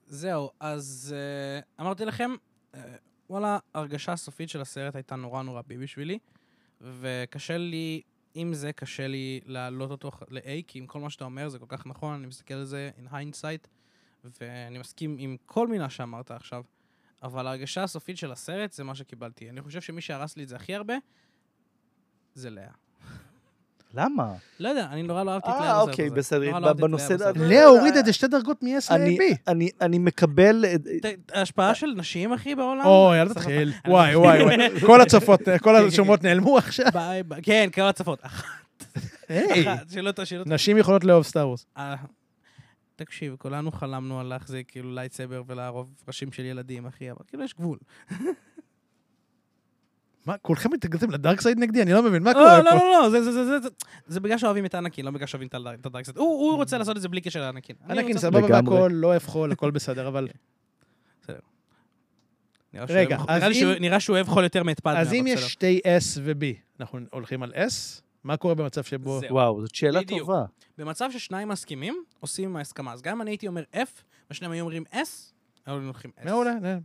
A: זהו, אז אה, אמרתי לכם, אה, וואלה, הרגשה הסופית של הסרט הייתה נורא נורא בי בשבילי, וקשה לי, עם זה קשה לי להעלות אותו ח- ל-A, כי עם כל מה שאתה אומר זה כל כך נכון, אני מסתכל על זה in hindsight, ואני מסכים עם כל מילה שאמרת עכשיו, אבל ההרגשה הסופית של הסרט זה מה שקיבלתי. אני חושב שמי שהרס לי את זה הכי הרבה, זה לאה.
C: למה?
A: לא יודע, אני נורא לא אהבתי את
C: אה,
A: לאה בסרט הזה.
C: אוקיי, בסדר,
A: נורא לא אהבתי את לאה
C: בנושא
A: בסרט הזה.
C: הזה-
B: לאה הורידה את זה שתי דרגות מ-S
C: אני-
B: ל-B.
C: אני- אני מקבל... את-
A: ת- ההשפעה של נשים, אחי, בעולם?
B: אוי, אל
A: סליחה.
B: תתחיל.
A: אני- (laughs)
B: וואי, וואי, וואי. כל הצופות, אה, כל השומות נעלמו (laughs) עכשיו.
A: ביי, ביי. כן, כמה הצפות. אחת,
B: היי,
A: שלא תשאיר אותך.
B: נשים יכולות לאהוב סטאר וורס.
A: אה, תקשיב, כולנו חלמנו על להחזיק כאילו לייטסבר ולערוב ראשים של ילדים, אחי, אבל כאילו יש גבול.
B: מה, כולכם מתנגדים לדארקסייד נגדי? אני לא מבין, מה
A: לא,
B: קורה
A: לא,
B: פה?
A: לא, לא, זה- זה- זה- זה- זה- זה בגלל שאוהבים את אנקין, לא בגלל שאוהבים את הל- את הדרקסט. הוא הוא רוצה לעשות את זה בלי קשר לאנקין. אני
B: ענקין
A: רוצה-
B: Mm.
A: אוקיי.
B: סבבה
C: לגמרי.
B: והכל, לא אוהב חול, הכל
A: (laughs)
B: בסדר, אבל...
A: נראה שהוא אוהב-
B: רגע,
A: נראה
B: אז
A: לי שהוא-
B: אם-
A: נראה שהוא אוהב חול יותר מאת פלדנר,
B: אז אם
A: אבל
B: יש
A: בסדר.
B: שתי S ו-B, אנחנו הולכים על S? מה קורה במצב שבו...
A: זהו.
C: וואו, זאת שאלה
A: בדיוק.
C: טובה.
A: במצב ששניים מסכימים, עושים עם ההסכמה. אז גם אם אני הייתי אומר F, ושניהם היו אומרים S, היו הולכים S.
B: מעולה, לא- נה.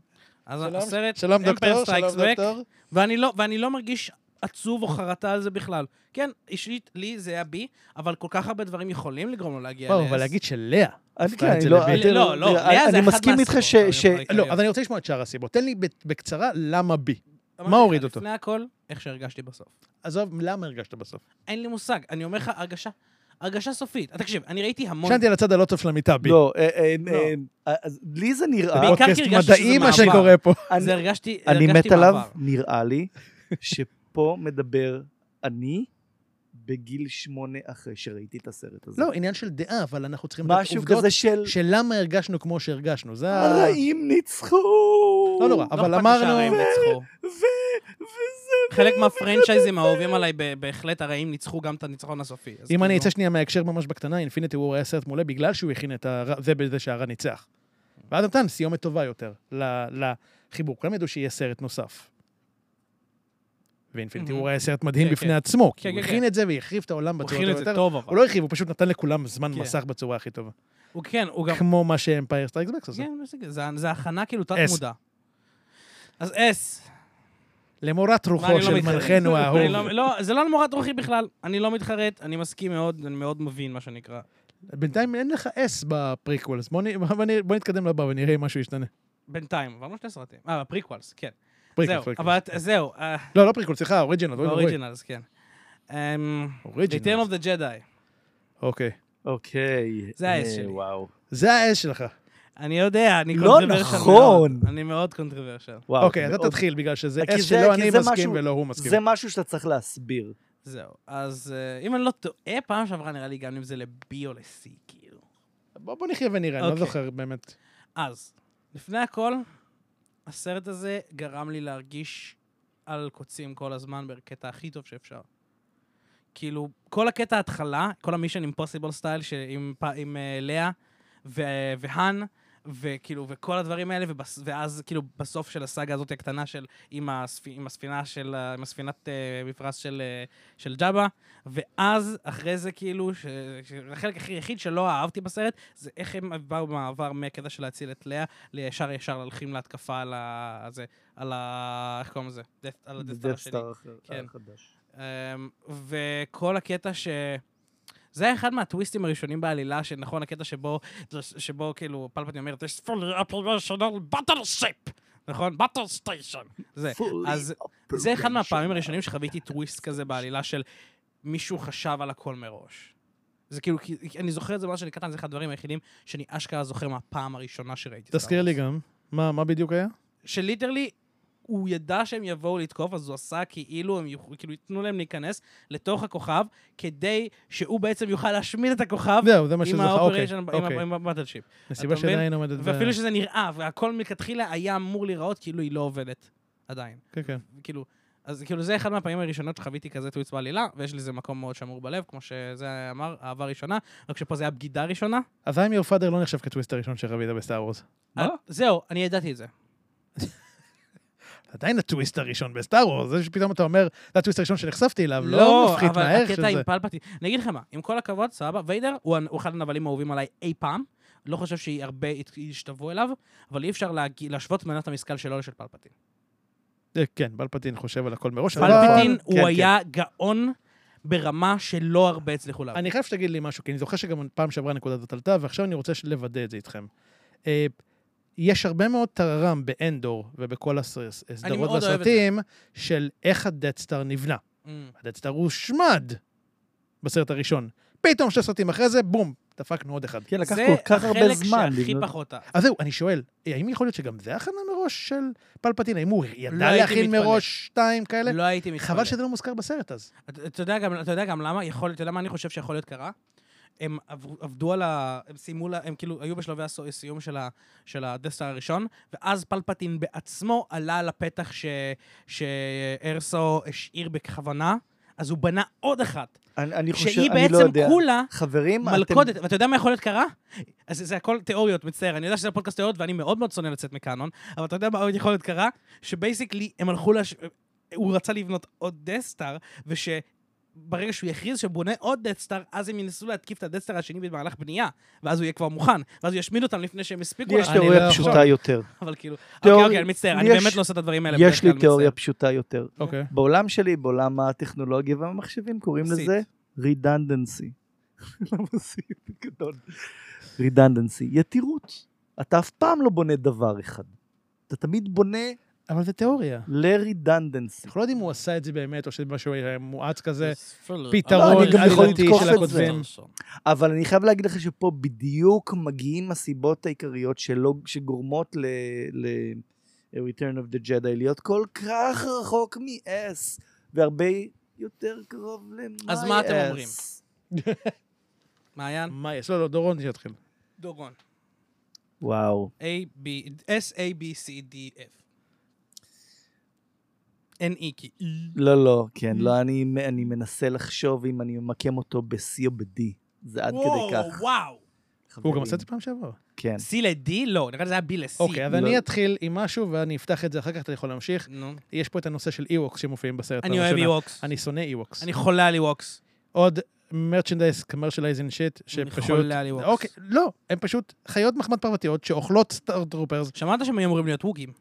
A: אז
B: שלום,
A: הסרט,
B: שלום
A: Empire
B: דוקטור,
A: Strikes
B: שלום
A: Back,
B: דוקטור.
A: ואני לא, ואני לא מרגיש עצוב או חרטה על זה בכלל. כן, אישית, לי זה היה בי, אבל כל כך הרבה דברים יכולים לגרום לו להגיע
B: וואו,
A: ל-S.
B: אבל להגיד שלאה...
C: אני
B: הפכה
C: כן,
B: את זה
C: אני לא,
B: לבין.
C: אני-
A: לא, לא, לאה זה
C: אני
A: אחד
C: מסכים איתך ש...
A: מהסיבות,
C: ש-
A: אבל יכול
B: לא,
A: להיות.
B: אז אני רוצה לשמוע את שאר הסיבות. תן לי ב- בקצרה למה B.
A: אמרתי
B: מה
A: לך,
B: הוריד אותו?
A: לפני הכל, איך שהרגשתי בסוף.
B: עזוב, למה הרגשת בסוף?
A: אין לי מושג, אני אומר לך, הרגשה, הרגשה סופית. אה, תקשיב, אני ראיתי המון...
B: שנתי על הצד הלא טוב של המיטה, B.
C: לא, אה, אה,
A: לא.
C: אה, אה, אז לי זה נראה...
A: בעיקר
B: פודקאסט
A: כי הרגשתי שזה
B: מדעי מה
A: מעבר.
B: שקורה פה.
C: אני-
A: זה הרגשתי,
C: אני
A: הרגשתי
C: מת עליו,
B: לא
A: מעבר.
C: נראה לי, שפה מדבר אני בגיל שמונה אחרי שראיתי את הסרט הזה.
B: לא, עניין של דעה, אבל אנחנו צריכים לתת
C: משהו
B: עובדות
C: כזה של...
B: של למה הרגשנו כמו שהרגשנו. זה ה...
C: הרעים ניצחו!
B: לא נורא,
A: לא
B: אבל
A: אכפת
B: אמרנו-
A: שהרעים ניצחו.
C: ו... וזה...
A: חלק מהפרנצ'ייזים האהובים עליי ב- בהחלט הרעים ניצחו גם את הניצחון הסופי. אז
B: אם
A: כאילו-
B: אני אצא שנייה מההקשר ממש בקטנה, אינפיניטי וור היה סרט מעולה בגלל שהוא הכין את הרע- זה בזה שהרע ניצח. ואז נתן סיומת טובה יותר ל- לחיבור. כולם ידעו שיהיה סרט נוסף. ואינפיניטי
A: מהמם.
B: וור היה סרט מדהים
A: כן, כן.
B: בפני עצמו, כי
A: כן,
B: הוא
A: כן,
B: הכין את זה והחריב את העולם
A: הוא
B: בצורה
A: הכיל את
B: הטובה
A: זה
B: יותר.
A: טוב, אבל.
B: הוא לא הרחיב, הוא פשוט נתן לכולם זמן
A: כן.
B: מסך בצורה הכי טובה.
A: הוא כן, הוא גם...
B: כמו מה שאמפייר סטרייקס בקס עושה.
A: כן, בסדר, זה- זה הכנה כאילו
B: S.
A: תת-מודע. אז אס.
B: למורת
A: ואני
B: רוחו
A: לא
B: של
A: מתחרט.
B: מלכנו האהוב.
A: (laughs) אני לא- לא, זה לא למורת רוחי בכלל. אני לא מתחרט, אני מסכים מאוד, אני מאוד מבין, מה שנקרא.
B: בינתיים אין לך S בפריקוולס. בוא, נ- בוא, נ- בוא נתקדם לבא ונראה אם משהו ישתנה.
A: בינתיים, עברנו שני סרטים. אה, הפריקוולס, כן.
B: פריקוולס,
A: זהו,
B: פריקוולס.
A: אבל את- זהו, אה,
B: לא, לא פריקוולס, סליחה, אוריג'ינל. אוי ואבוי.
A: באוריג'ינלס, כן. אמ,
B: אוריג'ינל.
A: Return of the Jedi.
B: אוקיי.
C: אוקיי.
A: זה האס
C: אה,
A: שלי.
C: וואו.
B: זה ה-S שלך.
A: אני יודע, אני
C: לא
A: קונטרוברשל
C: נכון.
A: מאוד. אני מאוד קונטרוברשל.
C: וואו,
B: אוקיי,
C: זה
B: אז אתה
C: מאוד-
B: תתחיל, בגלל
A: אה,
B: שזה
C: כי
B: S
C: זה-
B: שלא
C: כי
B: אני
C: זה
B: מסכים
C: משהו-
B: ולא הוא מסכים.
C: זה משהו שאתה צריך להסביר.
A: זהו, אז אה, אם אני לא טועה, פעם שעברה נראה לי גם אם זה ל-B או ל-C, כאילו.
B: בוא בוא נחיה ונראה, אני לא
A: אוקיי.
B: זוכר באמת.
A: אז, לפני הכל, הסרט הזה גרם לי להרגיש על קוצים כל הזמן בקטע הכי טוב שאפשר. כאילו, כל הקטע ההתחלה, כל המישן אימפוסיבל סטייל עם, פ- עם uh, לאה ו- אה, והאן, וכאילו, וכל הדברים האלה, ובס, ואז כאילו בסוף של הסאגה הזאת הקטנה של, עם, הספ, עם הספינה של, ה- עם הספינת אה, מפרש של, אה, של ג'אבה, ואז אחרי זה כאילו, ש, ש, החלק הכי יחיד שלא אהבתי בסרט, זה איך הם באו במעבר מהקטע של להציל את לאה, לישר ישר הולכים להתקפה על ה... זה, על ה... איך קוראים לזה? Death- על
C: זה
A: הדסטר
C: Death
A: השני.
C: Star אחר- אה,
A: כן.
C: החדש.
A: אמ, וכל הקטע ש... זה היה אחד מהטוויסטים הראשונים בעלילה, שנכון, הקטע שבו, שבו כאילו פלפטין אומרת, יש fully operational battleship, נכון? battle station. זה.
C: Fully
A: אז זה אחד מהפעמים
C: operational.
A: הראשונים שחוויתי טוויסט כזה בעלילה של מישהו חשב על הכל מראש. זה כאילו, כי- אני זוכר את זה ממש שאני קטן, זה אחד הדברים היחידים שאני אשכרה זוכר מהפעם הראשונה שראיתי. סטאר
B: תזכיר לי גם, מה מה בדיוק היה?
A: אוקיי, שליטרלי הוא ידע שהם יבואו לתקוף, אז הוא עשה כאילו הם יוכלו, כאילו ייתנו להם להיכנס לתוך הכוכב, כדי שהוא בעצם יוכל להשמיד את הכוכב
B: זהו, זה מה
A: עם
B: שזוכר, אוקיי,
A: ה-operation, עם ה-
B: אוקיי.
A: עם הבטלשיפ.
B: נסיבה
A: אתה מבין?
B: שעדיין עומדת... ב-
A: ואפילו שזה נראה, והכל מלכתחילה היה אמור להיראות כאילו היא לא עובדת עדיין.
B: כן, כן.
A: כאילו, אז כאילו זה אחד מהפעמים הראשונות שחוויתי כזה טוויץ בעלילה, ויש לזה מקום מאוד שמור בלב, כמו שזה אמר, אהבה ראשונה, רק שפה זה היה בגידה ראשונה.
B: אז I'm your father לא נחשב כטוויסט הראשון שחווית בסטאר וורס.
C: מה?
A: אה, זהו, אני ידעתי את זה.
B: עדיין הטוויסט הראשון בסטאר וורס, זה שפתאום אתה אומר, זה הטוויסט הראשון שנחשפתי אליו, לא
A: לא,
B: מפחית
A: אבל
B: מהערך של
A: הקטע
B: זה.
A: עם פלפטין. אני אגיד לך מה, עם כל הכבוד, סבבה, ויידר הוא הנ- הוא אחד הנבלים האהובים עליי אי פעם. לא חושב שהרבה ישתוו אליו, אבל אי אפשר להג- להשוות מנת המשכל שלו לשל פלפטין.
B: אה, כן, בלפטין חושב על הכל מראש, אבל-
A: פלפטין
C: כן, כן.
A: הוא היה גאון ברמה שלא הרבה הצליחו להבין.
B: אני חייב שתגיד לי משהו, כי אני זוכר שגם פעם שעברה הנקודה הזאת עלתה, ועכשיו אני רוצה לוודא את זה איתכם. אה, יש הרבה מאוד טררם באנדור ובכל הסרס- הסדרות
A: מאוד אוהב את
B: והסרטים של איך הדד סטאר נבנה.
A: אמ,
B: הדד סטאר הושמד בסרט הראשון. פתאום שני סרטים אחרי זה, בום, דפקנו עוד אחד.
C: כן, לקח כל כך הרבה זמן.
A: זה החלק שהכי
C: לבנות-
A: פחות אהב.
B: אז זהו, אני שואל, אה, האם יכול להיות שגם זה הכנה מראש של פלפטין? האם הוא
A: לא
B: ידע
A: הייתי
B: להכין
A: מתפלא.
B: מראש שתיים כאלה?
A: לא הייתי מתפלא.
B: חבל שזה לא מוזכר בסרט אז.
A: אתה- אתה יודע גם- אתה יודע גם למה, יכול- אתה יודע מה אני חושב שיכול להיות קרה? הם עברו- עבדו על ה... הם סיימו, לה- הם כאילו היו בשלבי הסיום של ה- של הדסטר הראשון, ואז פלפטין בעצמו עלה על הפתח ש- שארסו השאיר בכוונה, אז הוא בנה עוד אחת,
C: אני אני חושב,
A: שהיא
C: אני לא
A: בעצם
C: יודע.
A: כולה
C: חברים, אתם-
A: מלכודת, ואתה יודע מה יכול להיות קרה? אז זה- זה הכל תיאוריות, מצטער, אני יודע שזה פודקאסט תיאוריות ואני מאוד מאוד שונא לצאת מקאנון, אבל אתה יודע מה עוד יכול להיות קרה? שבייסיקלי הם הלכו לש... הוא רצה לבנות עוד דסטאר, וש... ברגע שהוא יכריז שהוא בונה עוד דסטאר, אז הם ינסו להתקיף את הדסטאר השני במהלך בנייה, ואז הוא יהיה כבר מוכן, ואז הוא ישמיד אותם לפני שהם הספיקו.
C: לי יש
A: לעשות-
B: אני לא
C: תיאוריה
B: יכול.
C: פשוטה יותר.
A: (laughs) אבל כאילו,
C: תיאוריה-
A: אוקיי, אוקיי, אני מצטער, אני
C: יש-
A: באמת לא עושה את הדברים האלה.
C: יש
A: בדרך
C: לי
A: כלל,
C: תיאוריה
A: מצטער.
C: פשוטה יותר.
B: אוקיי.
C: בעולם שלי, בעולם הטכנולוגיה והמחשבים, קוראים
A: סיט.
C: לזה רידנדנסי. (laughs) למה סיט? גדול. רידנדנסי, יתירות. אתה אף פעם לא בונה דבר אחד. אתה תמיד בונה
B: אבל זה תיאוריה.
C: לרידנדנסי.
B: אנחנו לא יודעים אם הוא עשה את זה באמת, או שזה משהו אה, מואץ כזה.
C: לא,
B: פתרון
C: אני גם יכול
B: עלילתי
C: לתקוף
B: של
C: את
B: הכותבים.
C: אבל אני חייב להגיד לך שפה בדיוק מגיעים הסיבות העיקריות שלא, שגורמות ל... ל... Return of the Jedi להיות כל כך רחוק מ-S, והרבה יותר קרוב ל-My
A: אז מה אתם
C: S.
A: אומרים? מעיין,
B: מה יש? לא, לא, דורון שיתחיל.
A: דורון.
C: וואו.
A: A, B, S, A, B, C, D, F. N, E, כי E.
C: לא, לא, כן,
A: Mm-hmm.
C: לא, אני, אני מנסה לחשוב אם אני ממקם אותו ב-C או ב-D. זה עד כדי כך.
A: וואו.
B: הוא גם
C: חברים.
B: עשה את זה פעם שעבר.
C: כן.
A: C ל-D? לא, נראה לי זה היה B ל-C.
B: אוקיי, אז
C: לא.
B: אני אתחיל עם משהו ואני אפתח את זה אחר כך, אתה יכול להמשיך.
A: נו.
B: יש פה את הנושא של אי-ווקס שמופיעים בסרט
A: אני אוהב E-Wox.
B: אני שונא אי-ווקס.
A: אני חולה על E-Wox.
B: עוד מרצ'נדייז, קמרשלייזינג שיט, שפשוט...
A: חולה על Ewoks.
B: אוקיי, לא, הם פשוט חיות מחמד פרבתיות שאוכלות סטארטרופרס.
A: שמעת שהם היו אמורים להיות ווקים?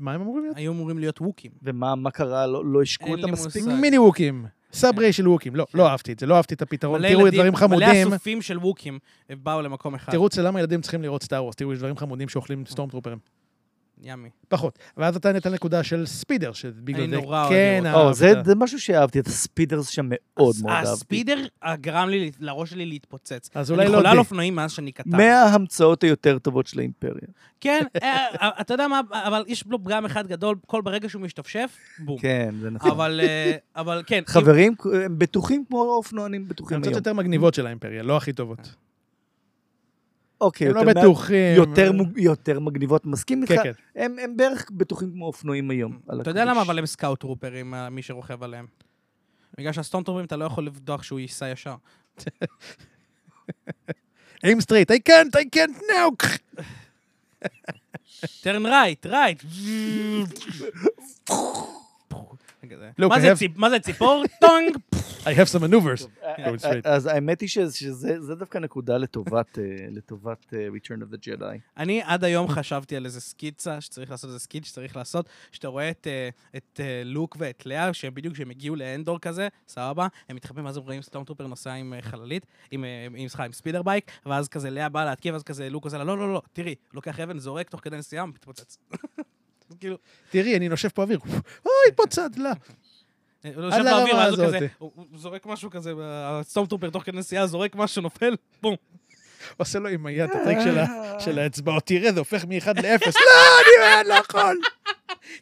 B: מה הם אמורים להיות?
A: היו אמורים להיות ווקים.
C: ומה מה קרה? לא, לא השקו
A: אין לי
C: אותם מספיק?
A: מושג. כן.
B: מיני ווקים. סאב ריי של ווקים. לא, לא אהבתי את זה, לא אהבתי את הפתרון.
A: מלא
B: תראו את
A: ילדים-
B: דברים חמודים.
A: מלא אסופים של ווקים באו למקום אחד.
B: תראו אצל למה ילדים צריכים לראות סטאר וורס. תראו, יש דברים חמודים שאוכלים
A: אה.
B: סטורמטרופרים.
A: ימי.
B: פחות. ואז אתה נתן נקודה של ספידר, שבגלל
A: אני
B: זה
A: נורא אוהב
B: כן
A: לראות.
C: או, זה,
B: אהבת.
C: זה משהו שאהבתי, את הספידרס שם מאוד מאוד אהבתי.
A: הספידר אה, גרם לי, לראש שלי להתפוצץ.
B: אז אולי
A: אני
B: לא
A: חולה על
B: D.
A: אופנועים מאז שאני קטן.
C: מההמצאות היותר טובות של האימפריה.
A: כן, אה, אתה יודע מה, אבל יש לו פגם אחד גדול, כל ברגע שהוא משתפשף, בום.
C: כן, זה נכון.
A: אוקיי. אבל, אה, אבל כן, אם-
C: חברים, הם בטוחים כמו האופנוענים בטוחים
B: המצאות
C: היום.
B: יותר מגניבות של האימפריה, לא הכי טובות.
C: אוקיי,
B: הם לא
C: אה, יותר מה-
B: בטוחים. אה.
C: יותר מוג- יותר מגניבות, מסכים איתך?
B: כן, כן.
C: הם הם בערך בטוחים כמו אופנועים היום. על
A: Mm. אתה יודע
C: הכביש.
A: למה אבל הם סקאוט טרופרים, אה, מי שרוכב עליהם? בגלל שהסטונטרופרים אתה לא יכול לבדוח שהוא ייסע ישר.
B: aim straight, I can't, I can't now.
A: turn right,
C: (laughs)
A: right. כזה.
C: לא,
B: לוק,
A: מה
B: I
A: זה
B: have-
A: ציפ- מה זה ציפור? טונג!
B: I have some maneuvers.
C: אה,
B: Go straight.
C: אז האמת היא שזה- שזה זה דווקא נקודה לטובת אה, לטובת אה, Return of the Jedi.
A: אני עד היום חשבתי על איזה סקיצה שצריך לעשות, איזה סקיץ שצריך לעשות, שאתה רואה את, אה, את אה, לוק ואת לאה, שהם בדיוק, כשהם הגיעו לאנדור כזה, סבבה, הם מתחבאים, ואז הם רואים סטורמטרופר נוסע עם אה, חללית, עם, אה, עם, סליחה, עם ספידר בייק, ואז כזה לאה באה להתקיף, ואז כזה לוק עושה לה, לא, לא, לא, תראי, לוקח אבן, זורק, תוך כדי נסיעה, מתפוצץ. (laughs) כאילו,
C: אה.
B: תראי, אני נושב פה לא. אוויר. אוי, התפוצץ לה.
A: אה, הוא יושב
B: לרמה
A: באוויר, ואז הוא
B: הזאת.
A: כזה, הוא הוא זורק משהו כזה, הסטורמטרופר תוך כדי נסיעה זורק משהו, נופל, בום.
B: עושה לו עם היד את הטריק של ה- של האצבעות. תראה, זה הופך מאחד לאפס. לא, אני לא יכול.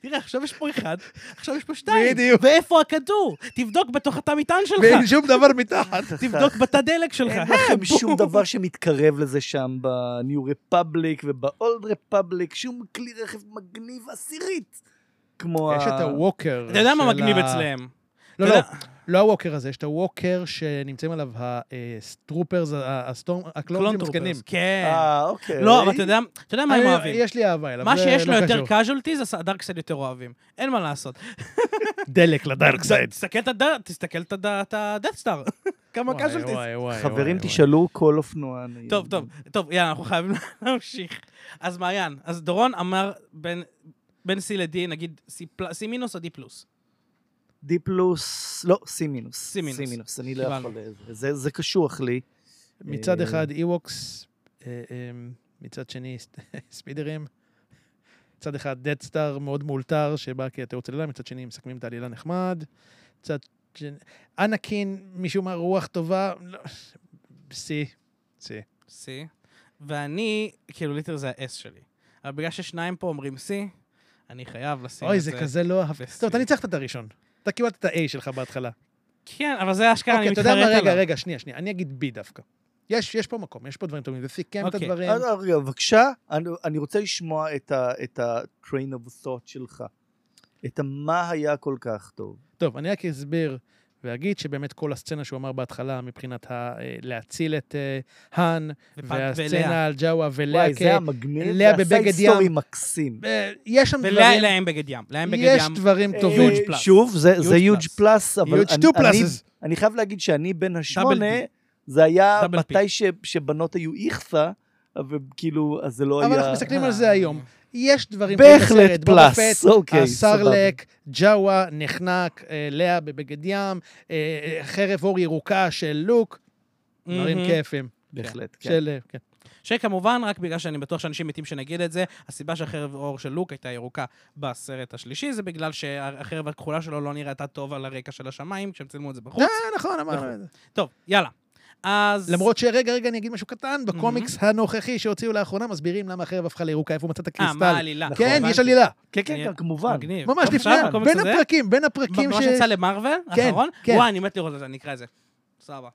A: תראה, עכשיו יש פה אחד, עכשיו יש פה שתיים.
B: בדיוק.
A: ואיפה הכדור? תבדוק בתוך התא מטען שלך.
B: ואין שום דבר מתחת.
A: תבדוק בתא דלק שלך.
C: אין
A: (laughs)
C: לכם שום דבר שמתקרב לזה שם ב-New Republic וב-Old Republic, שום כלי רכב מגניב עשירית. כמו
B: יש את הווקר.
A: אתה יודע מה
B: של
A: מגניב
B: ה-
A: אצלם?
B: לא,
A: אתה
B: לא,
A: יודע-
B: לא הווקר הזה, יש את הווקר שנמצאים עליו אה, הסטרופרס, הסטורם, הקלונים
A: קלון
B: הזקנים.
A: טרופרס. כן.
C: אה, אוקיי.
A: לא, אבל אתה יודע אתה יודע מה הם
B: אני-
A: אוהבים.
B: אה, יש לי אהבה אליו,
A: מה
B: זה
A: שיש
B: לא
A: לו יותר
B: קשור.
A: קאז'ולטי, זה הדארקסייד יותר אוהבים. אין מה לעשות.
B: דלק לדארק סייד.
A: תסתכל את הד- תסתכל את הד- את הדאט סטאר. (laughs) כמה קאז'ולטיז.
C: חברים, תשאלו כל אופנוען.
A: טוב, טוב, טוב, יאללה, אנחנו חייבים (laughs) להמשיך. אז מעיין, אז דורון אמר בין- בין C ל-D, נגיד C פל- C מינוס או D פלוס.
C: D פלוס, לא, C מינוס.
A: C מינוס.
C: C מינוס, אני לא
A: קיבלנו.
C: יכול... זה- זה קשוח לי.
B: מצד
C: אה,
B: אחד אי-ווקס, אה, אה, מצד שני ס- (laughs) ספידרים. מצד אחד דד סטאר מאוד מאולתר שבא כתיאור צלילה, מצד שני מסכמים את העלילה נחמד. מצד שני... אנקין, משום מה רוח טובה. לא, שיא, שיא.
A: C, ואני, כאילו ליטר זה ה-S שלי. אבל בגלל ששניים פה אומרים C, אני חייב לשים את
B: אוי,
A: זה.
B: זה כזה לא אהבתי.
A: בשיא.
B: טוב, אתה ניצחת את הראשון. אתה קיבלת את ה-A שלך בהתחלה.
A: כן, אבל זה אשכרה, אני
B: אוקיי, אתה יודע
A: מתחרט
B: מה?
A: עליו.
B: רגע, רגע, שנייה, שנייה. אני אגיד B דווקא. יש, יש פה מקום, יש פה דברים טובים. זה סיכם את
A: אוקיי.
B: הדברים.
C: אה, רגע, בבקשה, אני- אני רוצה לשמוע את ה- את ה-train of thought שלך. את מה היה כל כך טוב.
B: טוב, אני רק אסביר ואגיד שבאמת כל הסצנה שהוא אמר בהתחלה מבחינת ה, אה, להציל את אה, האן,
A: ופת- ולאה.
B: והסצנה על ג'אווה ולאה,
C: וואי,
B: כ-
C: זה היה מגניב,
B: לאה
C: זה היה
B: בבגד
C: סייד סטורי
B: ים.
C: מקסים.
B: אה, יש שם
A: ולאה
B: דברים,
A: להם בגד ים. להם בגד
B: יש
A: ים.
B: דברים
C: אה,
B: טובים.
A: huge plus.
C: שוב, זה זה
A: Huge
C: huge plus, אבל
B: huge
C: אני-
B: two
C: אני-
B: pluses.
C: אני חייב להגיד שאני בין השמונה,
A: Double
C: זה היה
A: Double P.
C: מתי ש- שבנות היו איכסה, וכאילו, אז זה לא
B: אבל אנחנו
C: היה...
B: מסתכלים על
A: אה.
B: זה היום. יש דברים
C: בהחלט פלאס,
B: אה,
C: אוקיי, סבבה.
B: הסרלק, ג'אווה, נחנק, אה, לאה בבגד ים, אה, אה, חרב אור ירוקה של לוק, דברים
A: מהמם.
B: כיפים.
C: בהחלט, כן.
B: של, אה, כן.
A: שכמובן, רק בגלל שאני בטוח שאנשים מתים שנגיד את זה, הסיבה שהחרב אור של לוק הייתה ירוקה בסרט השלישי, זה בגלל שהחרב הכחולה שלו לא נראתה טוב על הרקע של השמיים, כשהם צילמו את זה בחוץ.
B: אה, נכון, אמרנו את זה.
A: טוב, יאללה. אז... Mm-hmm.
B: למרות שרגע, רגע, אני אגיד משהו קטן, בקומיקס הנוכחי שהוציאו לאחרונה, מסבירים למה החרב הפכה לירוקה, איפה הוא מצא את
A: אה, מה
B: הקריסטל.
A: העלילה?
B: כן,
A: נכון,
B: יש עלילה.
C: כן, כן, כן, כמובן.
A: מגניב.
B: ממש
A: עכשיו,
B: לפני,
A: בקומיקס
B: בין
A: הזה?
B: הפרקים, בין הפרקים
A: מה
B: כאילו ש...
A: שיצא למרוויל?
B: כן,
A: האחרון?
B: כן.
A: וואי, אני מת לראות את זה, אני אקרא את זה. סבבה,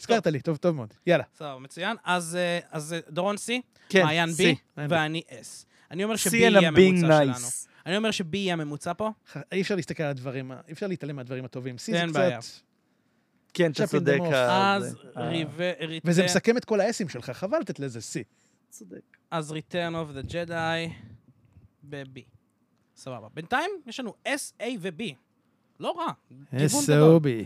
B: הזכרת לי, טוב, טוב מאוד. יאללה.
A: סבבה, מצוין. אז אה, אז, אה, דורון סי,
C: כן,
A: מעיין
B: C,
A: בי,
B: מעיין B.
A: ואני אס. אני אומר שבי
C: C and
A: יהיה
C: I'm being
A: הממוצע שלנו.
C: nice.
A: אני אומר שבי יהיה הממוצע פה.
B: ח- אי אפשר להסתכל על הדברים, ה- אי אפשר להתעלם מהדברים הטובים. סי זה
A: אין בעיה.
B: קצת...
C: כן, אתה
B: צ'פלין
C: צודק.
B: דמוף.
C: ה-
A: אז
C: זה- אה. ה-
A: ריב-
B: וזה
A: ריטר-
B: מסכם את כל האסים שלך, חבל לתת לזה סי.
C: צודק.
A: אז Return of the Jedi ב-B. סבבה. בינתיים יש לנו S, A ו-B. לא רע. כיוון גדול.
B: be.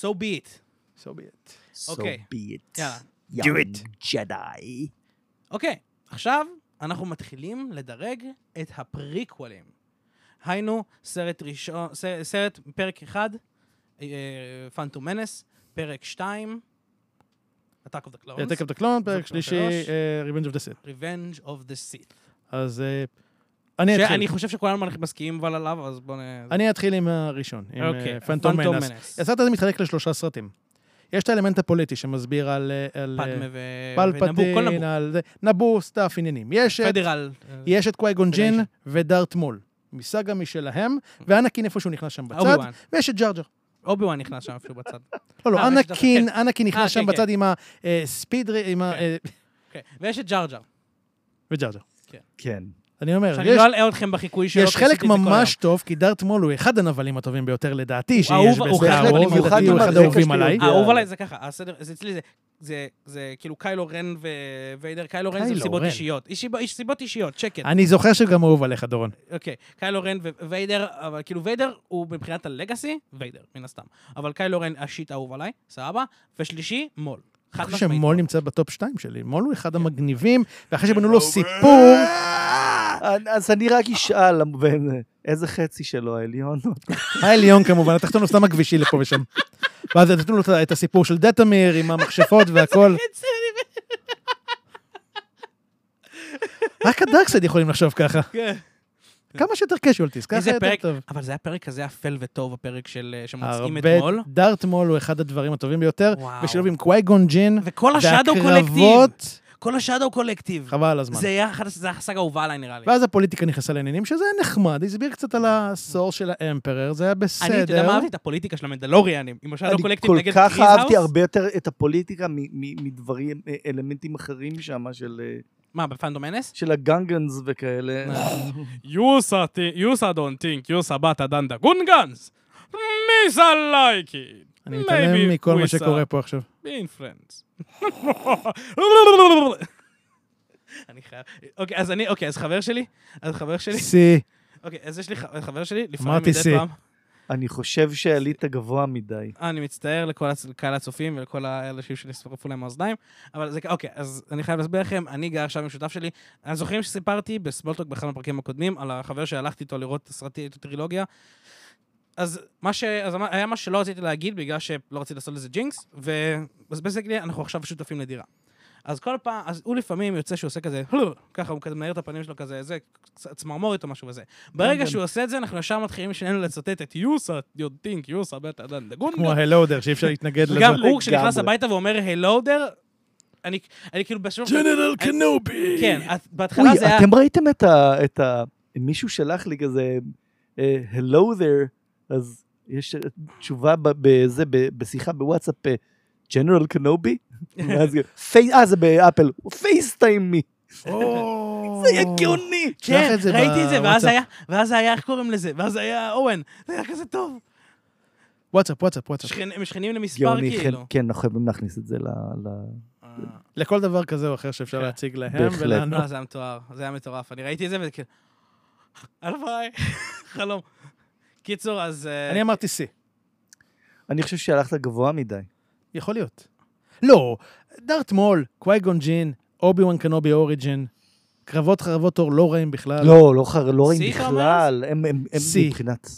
A: So be it.
B: So be it.
A: אוקיי.
C: So be it.
A: יאללה.
C: Do it. Jedi.
A: אוקיי, עכשיו אנחנו מתחילים לדרג את הפריקוולים. היינו, סרט ראשון, סרט, סרט פרק 1, פאנטום מנס, פרק 2, Attack of the Clones,
B: העתק הקלון, פרק
A: זאת
B: שלישי,
A: שלוש.
B: אה, Revenge of the Sith.
A: Revenge of the Sith.
B: אז אה, אני
A: שאני
B: אתחיל.
A: חושב שכולנו מסכימים אבל עליו, אז בואו נ...
B: אני אתחיל עם הראשון, עם
A: אוקיי,
B: אה, פנטום
A: Phantom
B: מנס.
A: Menace.
B: הסרט הזה מתחלק לשלושה סרטים. יש את האלמנט הפוליטי שמסביר על... אה, על, אה,
A: פדמה ו... ונבו, כל
B: פלפטין,
A: נבו.
B: על זה, נבו, סטאפ, עניינים. יש את-
A: פדרל. אה,
B: יש את קווייגון ג'ין
A: פדריישן.
B: ודארט מול. מסאגה משלהם, ואנקין איפה שהוא נכנס שם בצד,
A: Mm. אובי-וואן.
B: ויש את ג'רג'ר.
A: אוביואן נכנס שם איפשהו בצד.
B: לא, לא,
A: אה, ויש את
B: אנקין,
A: דווקא-
B: אנקין
A: אה,
B: נכנס
A: כן,
B: שם
A: כן.
B: בצד עם הספיד, עם ה... אה,
A: כן. אוקיי. ויש את ג'רג'ר.
B: וג'רג'ר.
C: כן.
B: אני אומר,
A: שאני
B: יש,
A: לא אלאה אתכם בחיקוי שלו,
B: יש
A: כי עשיתי
B: חלק
A: את זה כל
B: ממש טוב, כי דארט מול הוא אחד הנבלים הטובים ביותר לדעתי שיש
A: אהוב- הוא
B: בסטאר
A: בהחלט,
B: וורס,
A: במיוחד
B: לדעתי
A: עם
B: הוא אחד
A: הרקע
B: האהובים
C: שלו.
B: עליי.
A: היום. האהוב אה, עליי זה ככה, הסדר, זה אצלי זה... זה, זה כאילו קיילו רן וויידר, קיילו רן זה
B: קיילו
A: סיבות
B: רן. אה.
A: אישיות. איש- איש- סיבות אישיות, שקט.
B: אני זוכר שגם אהוב עליך, דורון.
A: אוקיי, קיילו רן וויידר, אבל כאילו ויידר הוא מבחינת הלגאסי, ויידר, מן הסתם. אבל קיילו רן השיט האהוב עליי, סבבה. ושלישי, מול. חד
B: אני חושב
A: משמעית. כן.
B: שמול נמצא בטופ 2 שלי. מול הוא אחד המגניבים, ואחרי שבנו לו
A: (laughs)
B: סיפור...
C: אה. אז אני רק אשאל, ו- איזה חצי שלו העליון?
B: העליון כמובן, התחתון הוא סתם הכבישי לפה ושם. ואז נתנו לו את ה- את הסיפור של דטמיר עם המכשפות
A: (laughs)
B: והכל.
A: חצי,
B: רק הדארקסייד יכולים לחשוב ככה.
A: כן.
B: כמה שיותר קשואלטיס, ככה
A: איזה
B: יותר
A: פרק,
B: טוב.
A: אבל זה היה פרק כזה אפל וטוב, הפרק של, אה, שמוצאים את
B: הרבה,
A: מול.
B: דארט מול הוא אחד הדברים הטובים ביותר,
A: וואו.
B: בשילוב עם קווייגון ג'ין,
A: וכל השאדו קולקטיב.
B: והקרבות,
A: כל השאדו קולקטיב.
B: חבל על הזמן.
A: זה היה אחת, זה החסג האהובה עליי, נראה לי.
B: ואז הפוליטיקה נכנסה לעניינים, שזה היה נחמד, הסביר קצת על הסור של האמפרר, זה היה בסדר.
A: Mm. אני, אתה יודע מה אהבתי? את הפוליטיקה של המנדלוריאנים. עם השאדו
C: אני
A: לא קולקטיב
C: כל
A: נגד
C: כך
A: גריזהאוס.
C: אהבתי הרבה יותר את הפוליטיקה מ- מ- מדברים, אה, אלמנטים אחרים שם, של, אה,
A: מה, בפנדום אנס?
C: של הגנגנס וכאלה.
A: אה. יוסה יוסה דון טינק, יוסה בתה דנדה גונגאנס. מי זה לייקי?
B: אני מתעלם מכל מה שקורה פה עכשיו.
A: בין פרנדס. (laughs) אני חייב... אוקיי, אז אני... אוקיי, אז חבר שלי? אז חבר שלי?
B: סי,
A: אוקיי, אז יש לי ח- חבר שלי, לפעמים
B: אמרתי
A: מדי
B: סי.
A: פעם.
C: אני חושב שעלית גבוה מדי.
A: אה, אני מצטער לכל הצ- קהל הצופים ולכל האנשים שנשרפו להם האוזניים, אבל זה כ- אוקיי, אז אני חייב להסביר לכם, אני גר עכשיו עם שותף שלי. אני זוכרים שסיפרתי בסמולטוק באחד הפרקים הקודמים על החבר שהלכתי איתו לראות את הסרטי, את הטרילוגיה. אז מה ש... אז אמר- היה מה שלא רציתי להגיד בגלל שלא רציתי לעשות לזה ג'ינקס, ו- אז בסגלי אנחנו עכשיו שותפים לדירה. אז כל פעם, אז הוא לפעמים יוצא שהוא עושה כזה, "הלו", ככה הוא כזה מנער את הפנים שלו כזה, זה, קצת צמרמורת או משהו כזה. ברגע שהוא עושה את זה, אנחנו ישר מתחילים שנינו לצטט את יוסה, יודטינק, יוסה, בטה דן דגונגה.
B: כמו ההלודר, שאי אפשר להתנגד לזה.
A: וגם הוא כשנכנס
C: לגמרי.
A: הביתה ואומר הלו דר, אני אני כאילו בשום...
B: ג'נרל קנובי!
A: כן, את- בהתחלה
C: אוי,
A: זה היה...
C: אתם ראיתם את ה... את ה... מישהו שלח לי כזה, אה, hello there, אז יש אה, תשובה ב- בזה, ב- בשיחה בוואטסאפ, אה, General קנובי? ואז גם, "פי- אה, זה באפל, פייסטיים מי, זה הגיוני.
A: (laughs) כן,
B: שלח את זה
A: ראיתי את זה, ואז
B: בוואטסאפ.
A: היה, ואז היה, איך קוראים לזה? ואז היה אורן. זה היה כזה טוב.
B: וואטסאפ, וואטסאפ, וואטסאפ.
A: שכן- הם שכנים למספר,
C: גאוני, כן-
A: כאילו.
C: כן, אנחנו חייבים להכניס את זה ל... ל-
A: אה,
B: לכל דבר כזה או אחר
A: כן.
B: שאפשר להציג להם
C: בהחלט.
B: ולנו.
A: לא, זה היה מתואר, זה היה מטורף. אני ראיתי את זה וכאילו... הלוואי, (laughs) חלום. קיצור, אז... אה,
B: אני אמרתי סי,
C: אני חושב שהלכת גבוה מדי.
B: יכול להיות. לא, דארט מול, קווייגון ג'ין, אובי וואן קנובי אוריג'ין, קרבות חרבות אור לא רעים בכלל.
C: לא, לא חר- לא
A: שיא,
C: רעים
A: אתה אומר?
C: בכלל, הם הם- הם
B: שיא.
C: מבחינת...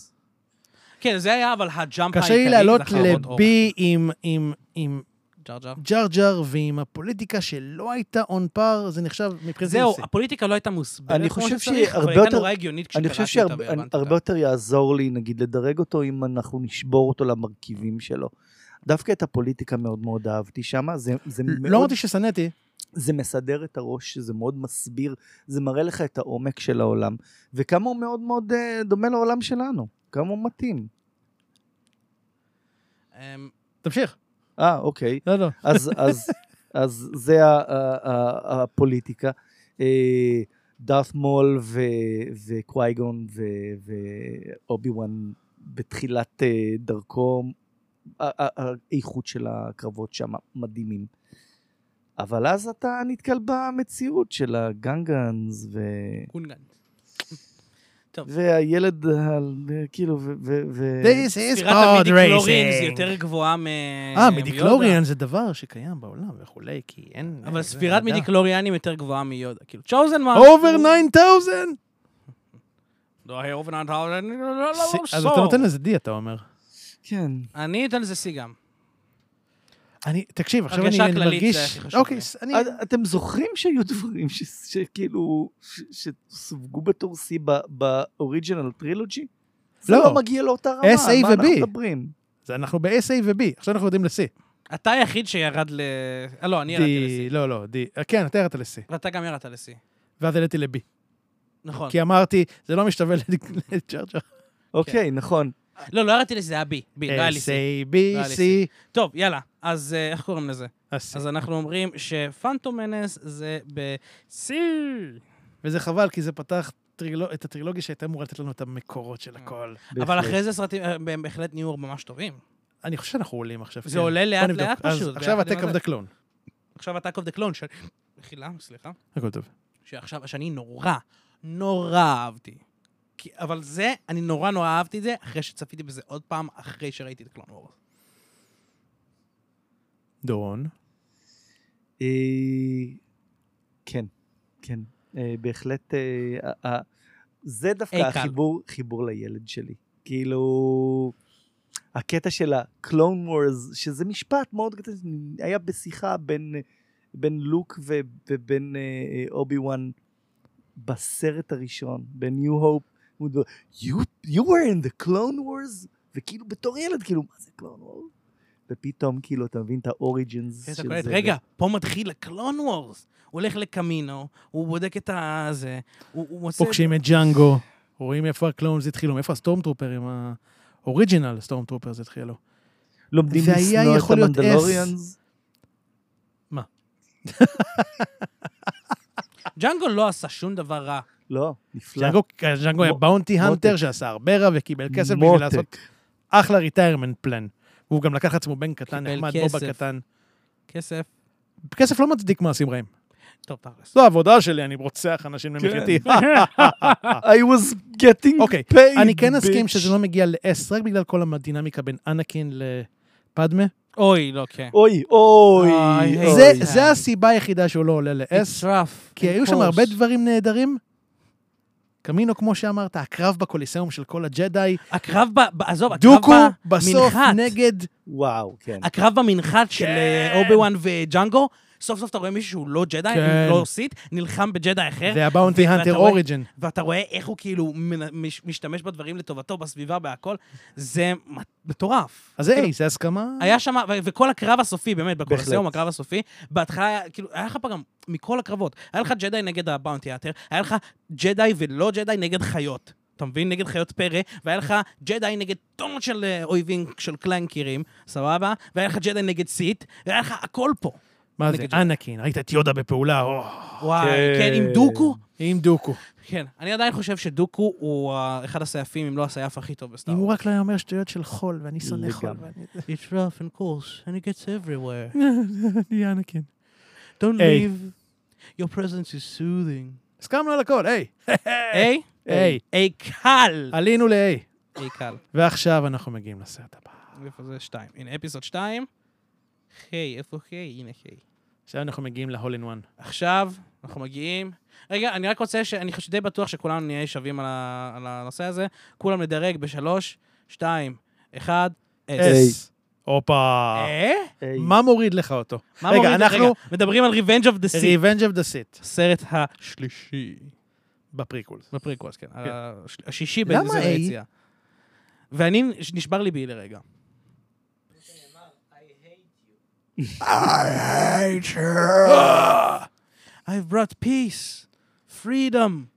A: כן, זה היה אבל הג'אמפ
B: קשה לי
A: העיקרי,
B: לעלות
A: זה אוקיי, חרבות אור.
B: לבי עם- עם- עם
A: ג'ר ג'ר.
B: ג'ר ג'ר ועם הפוליטיקה שלא הייתה און פאר, זה נחשב מבחינתי
A: זהו,
B: נושא.
A: הפוליטיקה לא הייתה
C: אני
A: מוסברת כמו
C: חושב
A: שצריך, אבל
C: שהרבה
A: הייתה
C: יותר-
A: נורא הגיונית
C: אני
A: כשקראתי
C: חושב
A: אותה. והבנתי אותה.
C: שהרבה יותר יעזור לי, נגיד, לדרג אותו אם אנחנו נשבור אותו למרכיבים שלו. דווקא את הפוליטיקה מאוד מאוד אהבתי שם, זה, זה,
B: לא
C: מאוד-
B: אמרתי ששנאתי,
C: זה מסדר את הראש, זה מאוד מסביר, זה מראה לך את העומק של העולם, וכמה הוא מאוד מאוד אה, דומה לעולם שלנו, כמה הוא מתאים.
A: אמ,
B: תמשיך.
C: אה, אוקיי.
B: לא, לא.
C: אז, אז, אז זה ה- ה- ה- הפוליטיקה. אה, דארת מול ו- וקווייגון ו- ואובי וואן בתחילת אה, דרכו, ה- ה- האיכות של הקרבות שם מדהימים. אבל אז אתה נתקל במציאות של הגנגנס ו...
A: גונגן.
C: והילד, ה- כאילו, ו... ו- ו-
B: This is
A: אה, ספירת
B: pod
A: המידיקלורין זה
B: racing.
A: יותר גבוהה מ...
B: אה,
A: מיודה.
B: מידיקלוריאן זה דבר שקיים בעולם וכולי, כי אין... אה,
A: אבל
B: זה
A: ספירת
B: מדע.
A: מידיקלוריאנים יותר גבוהה מיודה. כאילו, צ'וזן מה...
B: Over 9,000!
A: לא, היה אובר 9,000. לא, לא, לא,
B: סי- אז
A: לא,
B: אתה נותן
A: לא.
B: לזה די, אתה אומר.
C: כן.
A: אני אתן לזה שיא גם.
B: אני, תקשיב, עכשיו
A: הרגשה
B: אני אני
A: הכללית זה
B: מרגיש...
A: הכי חשוב אה.
B: אוקיי,
A: לי.
B: ס- אני...
C: את- אתם זוכרים שהיו דברים ש- שכאילו, ש- שסווגו בתור C ב- באוריג'ינל טרילוגי? זה
B: לא.
C: לא מגיע לאותה רמה,
B: S, A
C: מה אנחנו
B: ו-B.
C: מדברים?
B: זה אנחנו ב-SA ו-B, עכשיו אנחנו יורדים ל-C.
A: אתה היחיד שירד ל... אה, לא, אני ירדתי לשיא.
B: D- לא, לא, D. כן, אתה ירדת ל-C,
A: ואתה גם ירדת לשיא.
B: ואז העליתי ל-B.
A: נכון.
B: כי אמרתי, זה לא משתווה לג'רג'ר.
C: אוקיי,
B: כן.
C: נכון.
A: לא, לא ירדתי לשיא, זה היה בי. בי, לא היה לי שיא.
B: S-A,
A: לא
B: B,
A: היה לי
B: C.
A: C. טוב, יאללה. אז אה, איך קוראים לזה?
B: אז C.
A: אז אנחנו אומרים שפנטום מנס זה ב... שיא.
B: וזה חבל, כי זה פתח טרילו, את הטרילוגיה שהייתה אמורה לתת לנו את המקורות של
A: אה.
B: הכל.
A: אבל אחרי זה סרטים, אה, הם בהחלט נהיו ממש טובים.
B: אני חושב שאנחנו עולים עכשיו.
A: זה
B: כן.
A: עולה
B: בוא נבדוק.
A: לאט-לאט
B: אז
A: פשוט.
B: עכשיו
A: ביחד עם
B: הטק אוף
A: הזה.
B: דה קלון.
A: עכשיו הטאק אוף דה קלון, ש... מחילה, סליחה.
B: הכל טוב.
A: שעכשיו, שאני נורא, נורא אהבתי. כי, אבל זה, אני נורא נורא אהבתי את זה, אחרי שצפיתי בזה עוד פעם, אחרי שראיתי את קלון וורס.
B: דורון.
C: אה, כן, כן, אה, בהחלט. אה, אה, אה, זה דווקא
A: אי, קל.
C: החיבור, חיבור לילד שלי. כאילו, הקטע של ה-Clone Wars, שזה משפט מאוד קטן, היה בשיחה בין, בין לוק ו, ובין אה, אובי וואן בסרט הראשון, ב-New Hope. הוא דו- you, you were in the Clone Wars? וכאילו בתור ילד, כאילו, מה זה Clone Wars? ופתאום, כאילו, אתה מבין את ה-Origins
A: אתה
C: של זה.
A: קולט,
C: ו-
A: כן, רגע, פה מתחיל הקלון וורס. הוא הולך לקמינו, הוא בודק את הזה, הוא הוא מוצא...
B: פוגשים את ג'אנגו, רואים איפה הקלונס התחילו, מאיפה הסטורמטרופרים, האוריג'ינל סטורמטרופרס התחילו.
C: לומדים
B: והיה
C: לשנוא את
B: יכול להיות
C: המנדלוריאנס.
A: ג'אנגו לא עשה שום דבר רע.
C: לא, נפלא.
B: ג'אנגו- כן, ג'אנגו היה
C: מ-
B: באונטי האנטר
C: מותק.
B: שעשה הרבה רע וקיבל כסף בשביל
C: מותק.
B: לעשות אחלה ריטיירמנט פלן. והוא גם לקח לעצמו בן קטן,
A: קיבל
B: נחמד,
A: כסף.
B: בובה קטן.
A: כסף,
B: כסף לא מצדיק מעשים רעים.
A: טוב, תכלס.
B: זו העבודה שלי, אני רוצח אנשים
A: כן.
B: למחייתי.
A: (laughs)
C: I was getting
B: אה. אוקיי,
C: paid,
B: אני כן אסכים
C: bitch.
B: שזה לא מגיע לעס, רק בגלל כל הדינמיקה בין אנקין לפדמה.
A: אוי, לא, כן.
C: אוי, אוי,
A: אוי,
C: אוי.
B: זה-
A: אוי.
B: זה הסיבה היחידה שהוא לא עולה לעס.
A: אסרף.
B: כי היו שם הרבה דברים נהדרים. קמינו, כמו שאמרת, הקרב בקוליסאום של כל הג'די,
A: הקרב ב... ב- עזוב, הקרב
B: דוקו בסוף
A: במנחת.
B: נגד...
C: וואו, כן.
A: הקרב במנחת של
B: כן.
A: אובי וואן וג'אנגו, סוף סוף אתה רואה מישהו שהוא לא ג'די,
B: כן.
A: לא סית, נלחם בג'די אחר,
B: והבאונטי
A: אה, ואתה
B: האנטר
A: רואה-
B: אוריג'ן.
A: ואתה רואה איך הוא כאילו מנ- מש- משתמש בדברים לטובתו, בסביבה, בהכל, זה מט- מטורף.
B: אז היי,
A: כאילו,
B: זה הסכמה?
A: היה שם, ו- וכל הקרב הסופי, באמת, בקולסיום,
C: בהחלט.
A: הקרב הסופי, בהתחלה, היה- כאילו, היה לך פה גם מכל הקרבות. היה לך ג'די נגד הבאונטי האטר, היה לך ג'די ולא ג'די נגד חיות. אתה מבין? נגד חיות פרא, והיה לך ג'די נגד טונות של אה, אויבים, של קלנקירים, סבבה? והיה לך ג'די נגד סיט, והיה לך הכל פה.
B: מה זה,
A: נגד ג'די.
B: אנקין, ראית את יודה בפעולה, או,
A: וואי,
B: אוקיי.
C: כן.
A: כן, עם דוקו?
B: עם דוקו.
A: כן. אני עדיין חושב שדוקו הוא אה, אחד הסייפים, אם לא הסייף הכי טוב בסטאר.
B: אם הוא רק לא היה אומר שטויות של חול, ואני שונא חול.
C: לגמרי.
B: ואני-
A: אוקיי. It's rough and coarse, and it gets (laughs) everywhere.
B: אני אנקין.
A: Don't
B: היי.
A: leave. Your presence is soothing.
B: הסכמנו על
A: (laughs)
B: הכל, היי.
A: היי?
B: היי.
A: היי קל!
B: עלינו להיי.
A: היי קל.
B: ועכשיו אנחנו מגיעים לסרט הבא.
A: איפה זה? שתיים. הנה, אפיסוד שתיים. היי, איפה היי? הנה היי.
B: עכשיו אנחנו מגיעים להול אין וואן.
A: עכשיו, אנחנו מגיעים. רגע, אני רק רוצה ש... אני חושב- די בטוח שכולנו נהיה שווים על, ה... על הנושא הזה. כולם נדרג בשלוש, שתיים, אחד,
C: היי.
B: אס. הופה.
A: אה?
C: היי.
B: מה מוריד לך אותו?
A: מה
B: רגע,
A: מוריד?
B: אנחנו-
A: רגע, מדברים על Revenge of the Sea.
B: Revenge of the Sith.
A: הסרט השלישי.
B: בפריקולס.
A: בפריקוולס, כן. הש- השישי
B: למה
A: באזור
B: A?
A: היציאה. ואני, נשבר ליבי לרגע.
B: (laughs)
A: I've brought peace, freedom,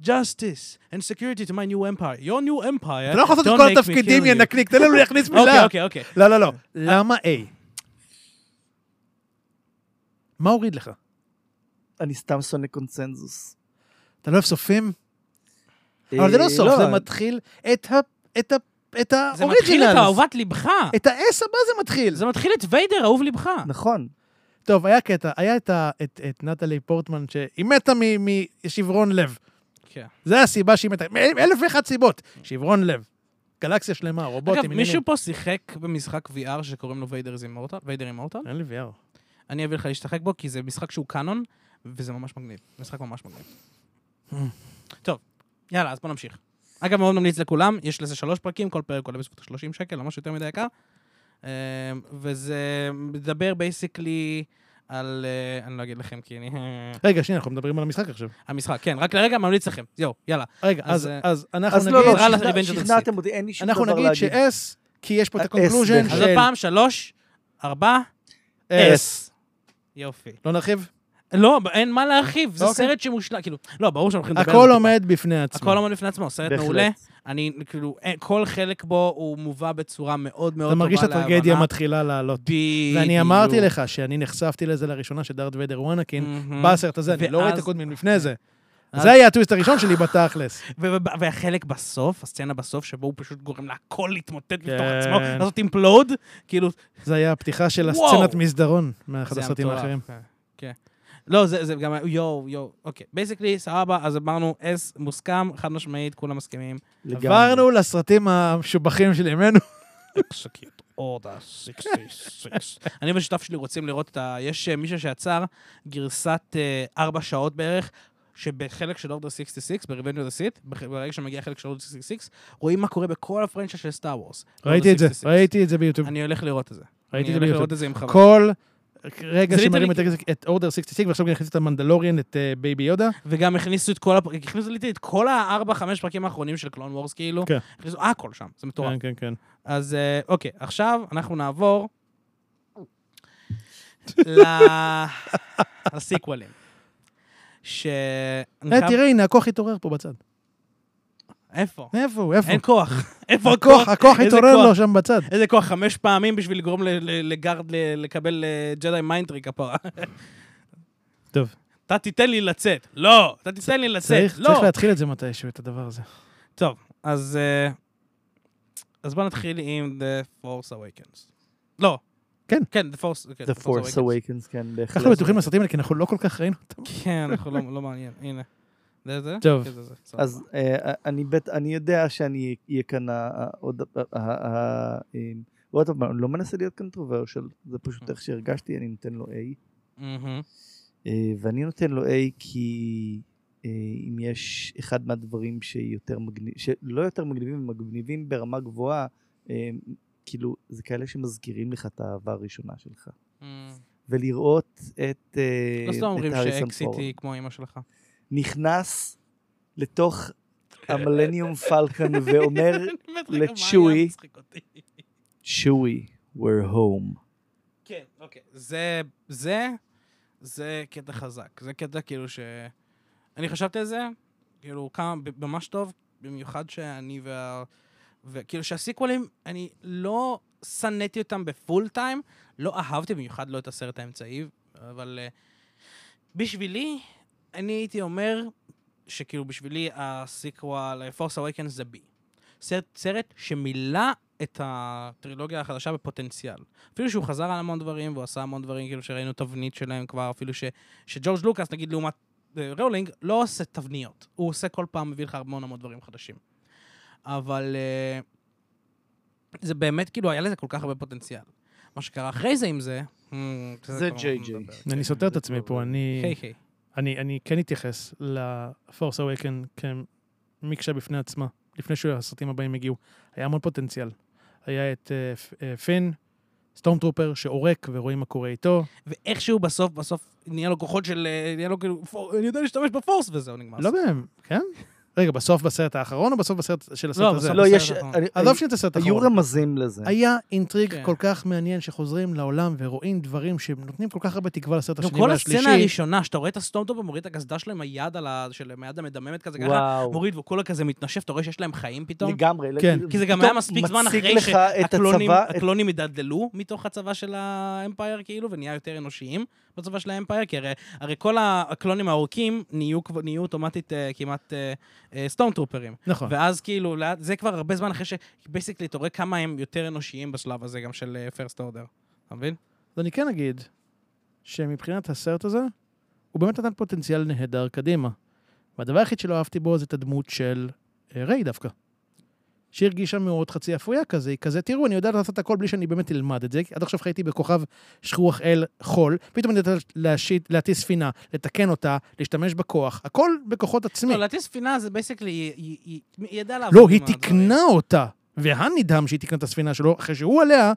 A: justice and security to my new empire. Your new empire.
B: אתה לא יכול לעשות
A: don't
B: את כל
A: make me
B: התפקידים,
A: kill you.
B: ינקניק, תן לנו להכניס
A: אוקיי,
B: מילה.
A: אוקיי, אוקיי.
B: לא, לא, לא. למה A? מה הוריד לך?
C: אני סתם שונא קונצנזוס.
B: אתה לא אוהב סופים? אבל זה לא
C: אה,
B: סוף, זה מתחיל את ה... את ה... את
A: זה מתחיל את
B: האוריג'ינל.
A: אהובת לבך.
B: אה, את ה-S הבא זה מתחיל.
A: זה מתחיל את ויידר, אהוב לבך.
C: נכון.
B: טוב, היה קטע, היה את ה- את את נטלי פורטמן, שהיא מתה מ- משברון לב.
A: כן.
B: זה הסיבה שהיא מתה. מ- אלף ואחת סיבות. שברון לב. גלקסיה שלמה, רובוטים.
A: אגב,
B: עניינים.
A: מישהו פה שיחק במשחק VR שקוראים לו ויידר אימורטל? ויידר אימורטל?
B: אין לי VR.
A: אני אביא לך להשתחק בו, כי זה משחק שהוא קאנון, וזה ממש מגניב. משחק ממש מגניב. טוב, יאללה, אז בוא נמשיך. אגב, מאוד ממליץ לכולם, יש לזה שלוש פרקים, כל פרק עולה בסביבות 30 שקל, לא משהו יותר מדי יקר. אמ, וזה מדבר בייסיקלי על... אה, אני לא אגיד לכם, כי אני... אה,
B: רגע, שנייה, אנחנו מדברים על המשחק עכשיו.
A: המשחק, כן, רק לרגע ממליץ לכם. יואו, יאללה.
B: רגע,
A: אז,
B: אז
A: אה,
B: אז אנחנו
C: אז לא,
B: נגיד...
C: לא,
A: רע
C: שכנע-
A: ל-Revenge of the
C: שכנעתם אותי, אין לי שום דבר
B: אנחנו
C: להגיד.
B: נגיד ש-S, כי יש פה את
C: ה- S
B: הקונקלוז'ן
C: דרך
A: אז
B: של
A: עוד פעם, שלוש, ארבע,
B: S.
A: יופי.
B: לא נרחיב?
A: לא, אין מה להרחיב, זה
B: אוקיי.
A: סרט שמושלם, כאילו, לא, ברור שאנחנו הולכים לדבר על
B: הכל
A: זה
B: עומד בפני
A: טיפה.
B: עצמו.
A: הכל עומד בפני עצמו, סרט
C: בהחלט.
A: מעולה. אני, כאילו, אין- כל חלק בו הוא מובא בצורה מאוד מאוד טובה
B: אתה מרגיש את הטרגדיה
A: להבנה.
B: מתחילה לעלות.
A: בדיוק.
B: ואני אמרתי כן, לך שאני נחשפתי לזה לראשונה, שדארט ויידר הוא אנקין,
A: מהמם.
B: בסרט הזה, אני לא רואה את
A: ואז- כן.
B: הקודמים לפני זה. זה היה הטוויסט הראשון שלי בתכלס.
A: ו- ו- והחלק בסוף, הסצנה בסוף, שבו הוא פשוט גורם להכל להתמוטט, לפתוח
B: כן.
A: עצמו, לעשות אימפלוד, כאילו,
B: זה היה הפתיחה של
A: וואו.
B: הסצנת מסדרון מאחד
A: זה היה
B: הסרטים
A: מטורף.
B: האחרים.
A: כן, כן. לא, זה, זה גם, היה- יואו, יואו, אוקיי. בייסקלי, סבבה, אז אמרנו, אס מוסכם, חד משמעית, כולם מסכימים.
C: לגמרי.
B: עברנו לסרטים המשובחים של
A: לא,
B: ימינו.
A: Execute Order 66. אני והשותף שלי רוצים לראות את ה... יש אה, מישהו שיצר גרסת אה, ארבע שעות בערך. שבחלק של אורדר 66, ב-Revenge of the Sith, בח- ברגע שמגיע החלק של אורדר 66, רואים מה קורה בכל הפרנצ'ה של סטאר וורס.
B: ראיתי את זה, ראיתי את זה ביוטיוב.
A: אני הולך לראות את זה.
B: ראיתי
A: אני
B: את זה
A: הולך
B: ביוטיוב.
A: לראות את זה עם חבר.
B: כל רגע
A: זה
B: שמרים את
A: ליטרלי-
B: הגזק- את אורדר 66, ועכשיו גם הכניסו את המנדלוריאן, את אה, בייבי יודה.
A: וגם הכניסו את כל הפ... הכניסו לי את כל הארבע, חמש פרקים האחרונים של קלון וורס, כאילו.
B: כן.
A: הכניסו הכל שם, זה מטורף.
B: כן, כן.
A: אז אה, אוקיי, עכשיו אנחנו
B: (laughs)
A: נעבור ל- לסיקוולים. ש...
B: אה, תראה, הנה, הכוח התעורר פה בצד.
A: איפה?
B: איפה הוא? איפה?
A: אין
B: (laughs)
A: כוח. איפה
B: הכוח,
A: הכוח?
B: הכוח
A: איזה
B: התעורר
A: כוח?
B: לו שם בצד.
A: איזה כוח? חמש פעמים בשביל לגרום ל- ל- לגארד ל- לקבל אה, ג'די מיינדטריק הפרה.
B: (laughs) טוב.
A: אתה תיתן לי לצאת. לא! אתה תיתן לי לצאת.
B: צריך
A: לא!
B: צריך להתחיל את זה מתישהו, את הדבר הזה.
A: טוב, אז... אה, אז בוא נתחיל עם The Force Awakens. לא.
B: כן.
A: כן, The Force כן,
C: The Force Awakens, כן, בהחלט.
B: אנחנו בטוחים בסרטים האלה, כי אנחנו לא כל כך ראינו אותם.
A: כן, אנחנו לא, לא מעניין, הנה. זה זה?
B: טוב.
A: כן, זה זה, סבבה.
C: אז אה, אני בט- אני יודע שאני אהיה כאן ה- ה- עוד... ה- ה- ה- אמ, עוד פעם, אני לא מנסה להיות קונטרוברשל, זה
A: אה.
C: פשוט איך שהרגשתי, אני נותן לו A.
A: מהמם.
C: אה, ואני נותן לו A כי אה, אם יש אחד מהדברים שיותר מגניב, שלא יותר מגניבים, הם מגניבים ברמה גבוהה, אה, כאילו, זה כאלה שמזכירים לך את האהבה הראשונה שלך.
A: מ,
C: ולראות את אה,
A: לא סתם
C: את
A: אומרים
C: האריסון
A: שאקסיט
C: פורד.
A: היא כמו אמא שלך.
C: נכנס לתוך המילניום פלקון ואומר,
A: (laughs) אני מת רגע, מה היה
C: לצ'וי.
A: מצחיק אותי?
C: שווי, we're home.
A: כן, אוקיי. זה, זה, זה קטע חזק. זה קטע כאילו ש... אני חשבתי על זה, כאילו, כמה, ב- ממש טוב, במיוחד שאני וה... וכאילו שהסיקוולים, אני לא שנאתי אותם בפול טיים, לא אהבתי במיוחד לא את הסרט האמצעי, אבל אה, בשבילי, אני הייתי אומר שכאילו בשבילי הסיקוול, Force Awakens זה בי. סרט, סרט שמילא את הטרילוגיה החדשה בפוטנציאל. אפילו שהוא חזר על המון דברים, והוא עשה המון דברים, כאילו שראינו תבנית שלהם כבר, אפילו ש, שג'ורג' לוקאס, נגיד לעומת אה, רולינג, לא עושה תבניות. הוא עושה כל פעם, מביא לך המון המון דברים חדשים. אבל אה, זה באמת, כאילו, היה לזה כל כך הרבה פוטנציאל. מה שקרה אחרי זה עם זה, אה,
C: זה
A: כבר
C: ג'יי
A: אנחנו
C: ג'יי.
A: נדבר.
B: אני סותר את עצמי פה, אני...
A: היי היי.
B: אני, אני כן אתייחס ל-Force Awaken כמקשה בפני עצמה, לפני שהסרטים הבאים הגיעו. היה המון פוטנציאל. היה את אה, פ- אה, פין, סטורם טרופר, שעורק ורואים מה קורה איתו.
A: ואיכשהו בסוף, בסוף נהיה לו כוחות של, אה, נהיה לו כאילו, "פור- אני יודע להשתמש בפורס, וזהו, נגמר.
B: לא בהם, כן? רגע, בסוף בסרט האחרון או בסוף בסרט של הסרט
A: בסוף
B: הזה?
A: בסרט.
C: לא,
A: בסדר,
C: יש...
A: נכון.
C: אני-
B: עזוב שאת הסרט
C: היו
B: האחרון.
C: רמזים לזה.
B: היה אינטריג
A: כן.
B: כל כך מעניין שחוזרים לעולם ורואים דברים שנותנים כל כך הרבה תקווה לסרט
A: גם
B: השני
A: כל
B: והשלישי.
A: הסצנה הראשונה, שאתה רואה את הסטומטופ ומוריד את הקסדה שלו עם היד על ה... של עם היד המדממת כזה, ככה,
C: וואו.
A: מוריד וכולה כזה מתנשף, אתה רואה שיש להם חיים פתאום.
C: לגמרי.
B: כן.
C: לג-
A: כי זה גם
C: פתאום
A: היה מספיק זמן
C: מציג
A: אחרי
C: לך את
A: שהקלונים
C: הצבא, את-
A: הקלונים התדלדלו מתוך הצבא של האמפייר, כאילו, ונהיה יותר אנושיים בצבא של האמפייר, כי הרי, הרי כל הקלונים העורקים נהיו, כבר- נהיו אוטומטית אה, כמעט סטומטרופרים.
B: נכון.
A: ואז כאילו, לאט- זה כבר הרבה זמן אחרי ש... בייסיקלי, אתה רואה כמה הם יותר אנושיים בשלב הזה, גם של פרסט אורדר. אתה מבין?
B: אז אני כן אגיד שמבחינת הסרט הזה, הוא באמת נתן פוטנציאל נהדר קדימה. והדבר היחיד שלא אהבתי בו זה את הדמות של אה, ריי דווקא. שהרגישה מאוד חצי אפויה כזה, היא כזה, תראו, אני יודעת לעשות הכל בלי שאני באמת אלמד את זה, כי עד עכשיו חייתי בכוכב שכוח אל חול, פתאום אני יודעת להשיט, להטיס ספינה, לתקן אותה, להשתמש בכוח, הכל בכוחות עצמי.
A: לא, להטיס ספינה זה בייסיקלי, היא- היא היא- היא ידעה לעבוד
B: לא,
A: עם
B: היא
A: הדברים.
B: תיקנה אותה, והנדהם שהיא תיקנה את הספינה שלו, אחרי שהוא עליה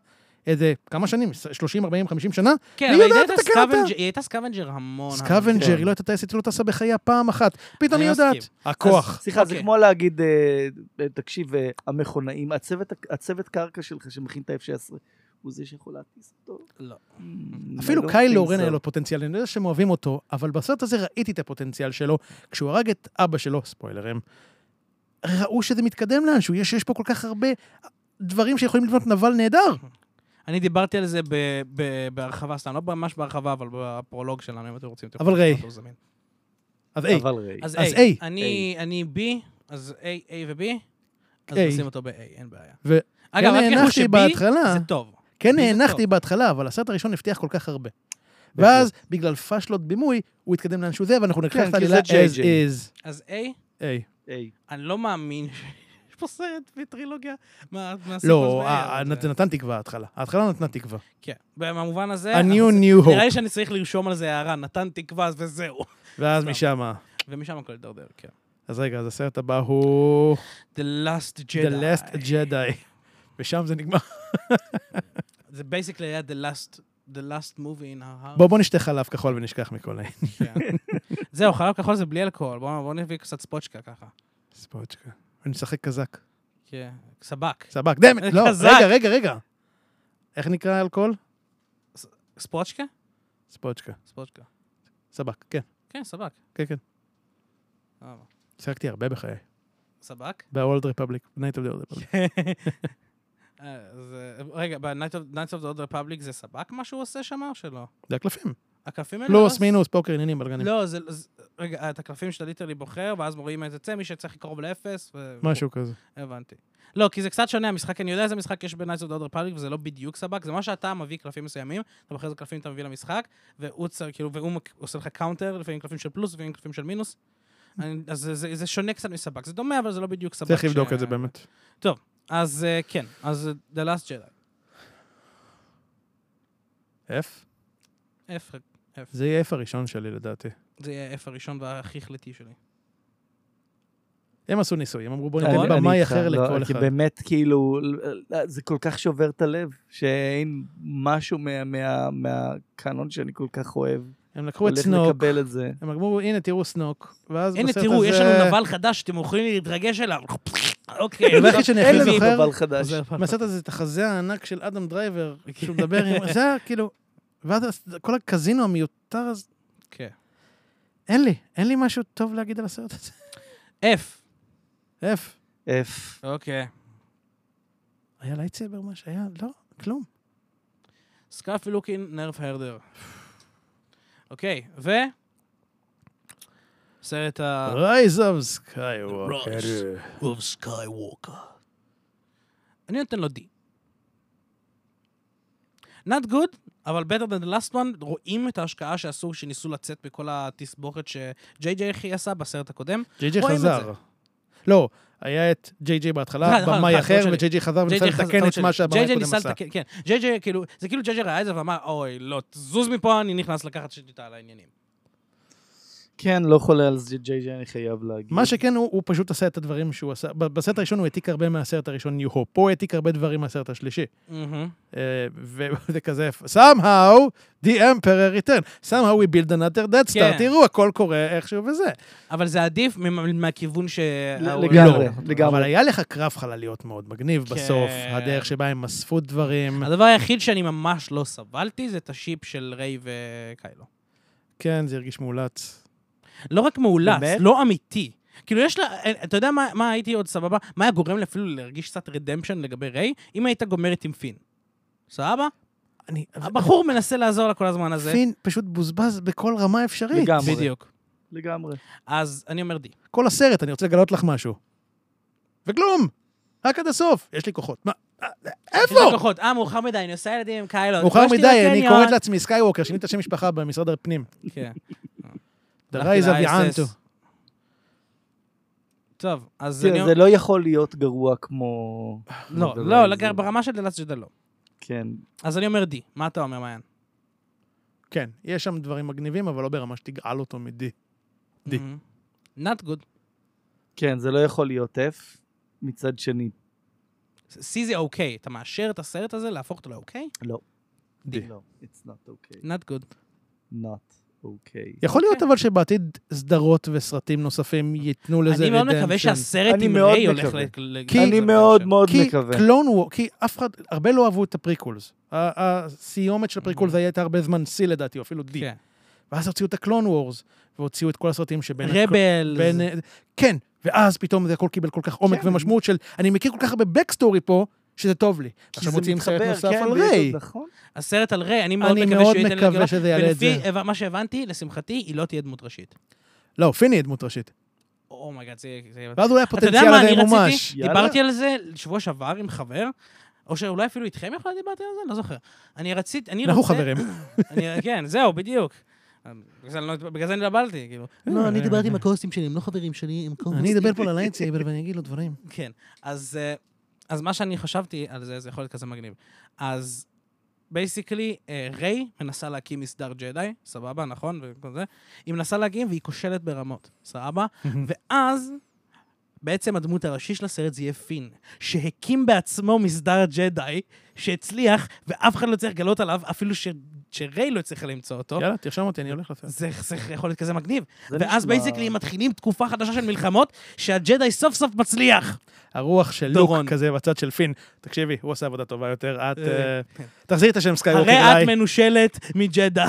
B: איזה כמה שנים, 30, 40, 50 שנה,
A: כן,
B: היא
A: אבל היא
B: יודעת
A: הייתה
B: לתקן אותה.
A: סקוונג'ר- היא הייתה סקוונג'ר המון. המון.
B: סקוונג'ר,
C: כן.
B: היא לא הייתה טייסת, היא לא טסה בחייה פעם אחת. פתאום
A: נכון, אני
B: היא יודעת.
A: מסכים.
B: הכוח.
C: סליחה, זה
A: אוקיי.
C: כמו להגיד, אה, אה, תקשיב, אה, המכונאים, הצוות- הצוות קרקע שלך שמכין את ה-F-16, הוא זה שיכול להטיס אותו.
A: לא.
C: Mm, I
B: אפילו
C: don't
B: קיילו
C: think
B: רן
C: so.
B: היה לו פוטנציאל, אני יודע שהם אוהבים אותו, אבל בסרט הזה ראיתי את הפוטנציאל שלו. כשהוא הרג את אבא שלו, ספוילרים, ראו שזה מתקדם לאנשהו, יש יש פה כל כך הרבה דברים שיכולים לבנות נבל נהדר.
A: אני דיברתי על זה ב- ב- בהרחבה, סתם, לא ממש בהרחבה, אבל בפרולוג שלנו, אם אתם רוצים. אתם
B: אבל
A: יכולים
B: ראי.
A: לראות, הוא זמין.
B: אז איי.
C: אבל ריי.
A: אז
B: אז
A: A.
B: A.
A: אני, אני B, אז A, A ו-B, אז
B: A.
A: נשים אותו ב-A, אין בעיה.
B: ו-
A: אגב, אל תשכחו
B: הנחתי
A: ש-B
B: בהתחלה.
A: זה טוב.
B: כן
A: לי זה
B: נאנחתי
A: טוב.
B: בהתחלה, אבל הסרט הראשון הבטיח כל כך הרבה. ואז, בגלל פאשלות בימוי, הוא התקדם לאן שהוא זה, ואנחנו נקח
C: כן,
B: את
C: כי זה
B: העלילה as
C: JJ.
B: is.
A: אז A,
B: היי.
C: היי,
A: אני לא מאמין (laughs) שיש פה סרט וטרילוגיה מה- מהסרט
B: לא,
A: הזה, אה.
B: ה-
A: אבל
B: ה- זה
A: זה-
B: נתן תקווה ההתחלה. ההתחלה נתנה תקווה.
A: כן, במובן הזה...
B: A
A: אנחנו-
B: new new
A: נראה
B: hope.
A: לי שאני צריך לרשום על זה הערה, נתן תקווה וזהו. (laughs)
B: ואז
A: סתם.
B: משם...
A: ומשם הכל הידרדר, כן.
B: אז רגע, אז הסרט הבא הוא...
A: The Last Jedi.
B: The Last Jedi. ושם זה
A: (laughs)
B: נגמר.
A: זה בייסקלי היה The Last... The last movie in our heart.
B: בוא, בוא נשתה חלב כחול ונשכח מכל העניין.
A: כן.
B: (laughs)
A: זהו, חלב כחול זה בלי אלכוהול, בואו בוא נביא קצת ספוצ'קה ככה.
B: ספוצ'קה. ונשחק קזק.
A: כן, סבק.
B: סבק, דמת, לא,
A: קזק.
B: רגע, רגע, רגע. איך נקרא האלכוהול?
A: ספוצ'קה?
B: ספוצ'קה.
A: ספוצ'קה.
B: סבק, כן,
A: כן, סבק.
B: כן, כן.
A: אה,
B: שיחקתי הרבה בחיי.
A: סבק?
B: ב-Old Republic, Night of the Old Republic.
A: כן. אה, זה- רגע, ב-Nights of the Old Republic זה סבק מה שהוא עושה שם או שלא?
B: זה הקלפים.
A: הקלפים האלה?
B: פלוס, מינוס, פוקר, עניינים, בלגנים.
A: לא, זה... זה- רגע, אה, את הקלפים שאתה ליטרלי בוחר, ואז מורידים את זה, מי שצריך קרוב לאפס. ו-
B: משהו כזה.
A: הבנתי. לא, כי זה קצת שונה, המשחק, אני יודע איזה משחק יש ב-Nights of the Old Republic, וזה לא בדיוק סבק, זה מה שאתה מביא קלפים מסוימים, אתה בוחר איזה קלפים אתה מביא למשחק, והוא צר, כאילו, והוא מק- עושה לך קאונטר, לפעמים קלפים של פלוס, לפעמים קלפים של מינוס. אני- אז זה, זה, זה שונה קצת מסבק, זה דומה, אבל זה לא בדיוק סבק.
B: צריך
A: ש-
B: לבדוק את זה באמת.
A: אז אה, כן, אז אה, The Last Jedi.
B: F?
A: F, F.
B: זה יהיה F הראשון שלי לדעתי.
A: זה יהיה ה-F הראשון והכי החלטי שלי.
B: הם עשו ניסוי, הם אמרו בוא
A: נכון.
B: ניתן
A: אני
B: במאי
C: איתך,
B: אחר
C: לא,
B: לכל
C: כי
B: אחד.
C: באמת, כאילו, לא, זה כל כך שובר את הלב, שאין משהו מה- מה- מהקאנון שאני כל כך אוהב.
B: הם לקחו את
C: הולך
B: סנוק,
C: לקבל את זה.
B: הם אמרו הנה תראו סנוק, ואז
A: הנה,
B: בסרט
A: תראו,
B: הזה-
A: יש לנו נבל חדש שאתם יכולים להתרגש אליו. (laughs) אוקיי.
B: הדבר היחיד שאני הכי
A: אין לנו-
B: זוכר-
C: אבל חדש.
A: עוזר פרפר.
B: מהסרט הזה את החזה הענק של אדם דרייבר,
A: אוקיי.
B: שהוא מדבר
A: (laughs)
B: עם... זה היה כאילו... ואז כל הקזינו המיותר הזה,
A: כן.
B: אין לי, אין לי משהו טוב להגיד על הסרט הזה.
A: F.
B: F.
C: F.
A: אוקיי.
B: היה לייטסייבר מה שהיה? לא, כלום.
A: סקאפי לוקין, נרף הרדר. אוקיי, ו... סרט ה...
B: Rise of Skywalker.
A: Rise. of סקייווקר. אני נותן לו D. Not good, אבל better than the last one, רואים את ההשקעה שעשו, שניסו לצאת מכל התסבוכת שג'יי ג'יי הכי עשה בסרט הקודם.
B: ג'יי ג'יי
A: רואים את זה.
B: חזר. לא, היה את ג'יי ג'יי בהתחלה,
A: נכון, נכון,
B: במאי
A: נכון,
B: אחר,
A: טעות שלי.
B: וג'יי ג'יי חזר וניסה
A: ג'יי ג'יי חזר,
B: לתקן
A: טעות
B: את מה
A: שלי. ג'יי
B: שהבמאי
A: ג'יי
B: הקודם
A: ניסה
B: עשה.
A: לתקן, כן. ג'יי ג'יי, כאילו, זה כאילו ג'יי ג'יי ראה את זה ואמר, אוי, לא, תזוז מפה, אני נכנס לקחת שליטה על העניינים.
C: כן, לא חולה על זה, ג'יי ג'יי, אני חייב להגיד.
B: מה שכן, הוא, הוא פשוט עשה את הדברים שהוא עשה. ב- בסרט הראשון הוא העתיק הרבה מהסרט הראשון, New Hope. פה הוא העתיק הרבה דברים מהסרט השלישי.
A: מהמם.
B: אה, (laughs) וזה כזה, somehow the emperor return, somehow we build another death star,
A: כן.
B: תראו, הכל קורה איכשהו וזה.
A: אבל זה עדיף ממ- מהכיוון ש...
C: לגמרי,
A: לא.
C: לגמרי.
B: אבל היה לך קרב חלליות מאוד מגניב
A: כן.
B: בסוף, הדרך שבה הם אספו דברים.
A: לא. הדבר היחיד שאני ממש לא סבלתי זה את השיפ של ריי וקיילו.
B: כן, זה הרגיש מאולץ.
A: לא רק מאולץ,
C: באמת?
A: לא אמיתי. כאילו יש לה, אתה יודע מה, מה הייתי עוד סבבה? מה היה גורם לי אפילו להרגיש קצת רדמפשן לגבי ריי? אם הייתה גומרת עם פין. סבבה?
B: אני...
A: הבחור מנסה לעזור לה כל הזמן הזה.
B: פין פשוט בוזבז בכל רמה אפשרית.
C: לגמרי.
A: בדיוק.
C: לגמרי.
A: אז אני אומר די.
B: כל הסרט, אני רוצה לגלות לך משהו. וכלום! רק עד הסוף. יש לי כוחות. מה? אה,
A: יש לי
B: איפה?
A: כוחות. אה, מאוחר מדי, אני עושה ילדים עם קיילו.
B: מאוחר
A: פגשתי
B: מדי, אני
A: בקניון.
B: קוראת לעצמי סקייווקר, שיניתי את השם משפחה במשרד הפנים.
A: כן.
B: The
A: הלכתי
B: Rise of the
A: ל-ISS.
B: Antu.
A: טוב, אז
C: תראה,
A: אני...
C: זה לא יכול להיות גרוע כמו...
A: לא,
C: כמו
A: לא,
C: The Rise.
A: לגר- ברמה של דלס ג'דה לא.
C: כן.
A: אז אני אומר די. מה אתה אומר, מעיין?
B: כן, יש שם דברים מגניבים, אבל לא ברמה שתגאל אותו מדי. D.
A: מהמם. Not good.
C: כן, זה לא יכול להיות F. מצד שני,
A: C זה אוקיי. אתה מאשר את הסרט הזה להפוך אותו לאוקיי? D.
C: לא, it's not okay.
A: Not good.
C: not okay.
B: יכול להיות
A: אוקיי.
B: אבל שבעתיד סדרות וסרטים נוספים ייתנו לזה
A: אני מאוד
B: לא, redemption.
A: מקווה שהסרט
C: אני
A: עם
C: מאוד
A: ריי הולך
C: מקווה.
A: ל... ל-
B: כי-
A: ל-
C: אני
A: ל-
C: מאוד
A: ל-
C: מאוד
B: כי
C: מקווה.
B: קלון וור, כי אף אחד, הרבה לא אהבו את הפריקולס. ה- הסיומת של הפריקולס הייתה הרבה זמן C לדעתי, או אפילו D.
A: Mm. כן.
B: ואז הוציאו את הקלון וורס, והוציאו את כל הסרטים שבין... הק-
A: רבל.
B: בין... כן, ואז פתאום זה הכל קיבל כל כך עומק
C: כן.
B: ומשמעות של, אני מכיר כל כך הרבה בקסטורי פה, שזה טוב לי.
C: כי
B: עכשיו
C: זה
B: מוציאים סרט
C: מתחבר,
B: נוסף
C: כן, נכון.
B: על
C: ויש
B: ריי.
C: עוד- נכון.
A: הסרט על ריי, אני מאוד
B: אני
A: מקווה שהוא
B: מאוד
A: ייתן לי
B: מקווה שזה יעלה את זה.
A: ולפי הבנ- מה שהבנתי, לשמחתי, היא לא תהיה דמות ראשית.
B: לא, פיני היא דמות ראשית.
A: אומייגאד, זה... זה-
B: ואז הוא היה
A: אתה יודע
B: פוטנציאל
A: מה אני
B: עדיין
A: רציתי?
B: מומש.
C: יאללה.
A: דיברתי על זה שבוע שעבר עם חבר, או שאולי אפילו איתכם יכול להיות דיברתי על זה, לא זוכר. אני רציתי, אני
B: (laughs) אנחנו
A: רוצה...
B: חברים.
A: אני- כן, זהו, בדיוק. בגלל זה אני לא- בגלל זה נדבלתי, כאילו.
B: לא, אני דיברתי עם
A: הקוסטים שלי, הם לא חברים שלי, הם קוסטים.
B: אני אדבר פה לליינסייבר ואני אגיד לו דברים.
A: כן, אז, אה, אז מה שאני חשבתי על זה, זה יכול להיות כזה מגניב. אז בייסיקלי, ריי מנסה להקים מסדר ג'די, סבבה, נכון? וכל זה. היא מנסה להקים והיא כושלת ברמות, סבבה? ואז... בעצם הדמות הראשי של הסרט זה יהיה פין, שהקים בעצמו מסדר ג'די, שהצליח, ואף אחד לא צריך לגלות עליו, אפילו ש... שריי לא הצליחה למצוא אותו.
B: יאללה, תרשום אותי, אני הולך לסרט.
A: זה, זה יכול להיות כזה מגניב.
C: זה
A: ואז
C: נשמע-
A: בייסיקלי מתחילים תקופה חדשה של מלחמות, שהג'די סוף סוף מצליח.
B: הרוח של לוק
A: דורון.
B: כזה בצד של פין. תקשיבי, הוא עושה עבודה טובה יותר, את...
A: אה,
B: אה, תחזירי את השם סקייווקר
A: הרי
B: אליי.
A: את מנושלת מג'די.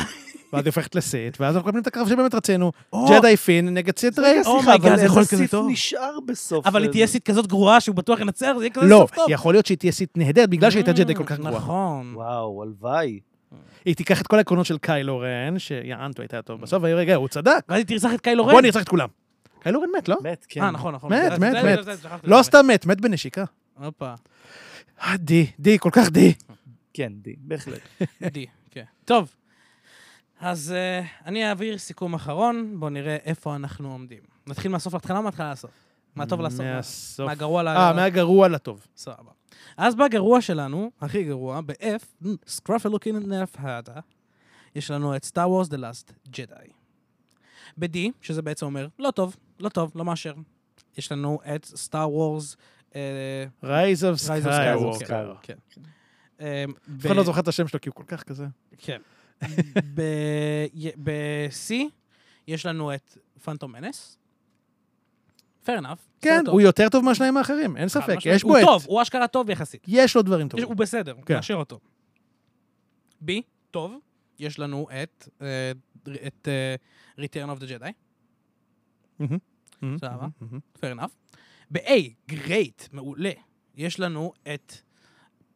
B: ואז היא הופכת לסט, ואז אנחנו מקבלים את הקרב שבאמת רצינו.
A: או,
B: ג'די פין נגד סט ריי.
C: רגע, סליחה,
A: אומייגאד,
C: אבל
A: זה יכול להיות
C: איזה
A: כזה
C: סיף
A: טוב.
C: נשאר בסוף.
A: אבל היא תהיה
C: איזה-
A: סית כזאת גרועה שהוא בטוח ינצח, זה יהיה כזה
B: לא,
A: סוף טוב.
B: יכול להיות שהיא תהיה סט נהדרת בגלל שהיא הייתה ג'די כל כך גרועה.
A: נכון.
C: וואו, הלוואי.
B: היא תיקח את כל העקרונות של קיילו רן, שיענתו הייתה טוב
A: Mm.
B: בסוף, והיא רגע, הוא צדק,
A: ואז היא תרצח את קיילו רן.
B: בוא נרצח את כולם. קיילו רן מת, לא?
C: מת, כן.
A: אה, נכון, נכון.
B: מת,
A: זה- זה-
B: מת,
A: זה-
B: מת.
A: זה- זה- שכחתי
B: לא
A: לגמרי.
B: סתם מת, מת בנשיקה.
A: הופה,
B: אה, די, די, כל כך די.
C: כן, די, בהחלט.
A: די, כן. טוב, אז אה, אני אעביר סיכום אחרון, בואו נראה איפה אנחנו עומדים. נתחיל מהסוף להתחלה או מההתחלה לסוף? מהטוב לסוף?
B: מהסוף.
A: מהגרוע ל...
B: אה, מהגרוע לטוב.
A: סבבה. אז בגרוע שלנו, הכי גרוע, ב-F, mm, סקרפל לוקין נף האדה, יש לנו את סטאר וורס The Last Jedi. ב-D, שזה בעצם אומר, לא טוב, לא טוב, לא מאשר. יש לנו את סטאר וורס...
B: Rise of
A: Rise of Skywalker.
B: Skywalker. אף
A: כן. אה, ב-
B: אחד לא זוכר את השם שלו כי הוא כל כך כזה.
A: כן. ב-C יש לנו את פנטום מנס. Fair enough.
B: כן,
A: בסדר, טוב.
B: הוא יותר טוב מהשניים האחרים, אין
A: חד
B: ספק,
A: משמעית.
B: יש בו
A: הוא טוב,
B: את...
A: הוא אשכרה טוב יחסית.
B: יש לו דברים
A: יש,
B: טובים.
A: הוא בסדר,
B: כן.
A: נאשר אותו. B, טוב, יש לנו את, אה, את אה, Return of the Jedi,
B: מהמם, מהמם,
A: סבבה.
B: מהמם.
A: fair enough. ב-A, great, מעולה, יש לנו את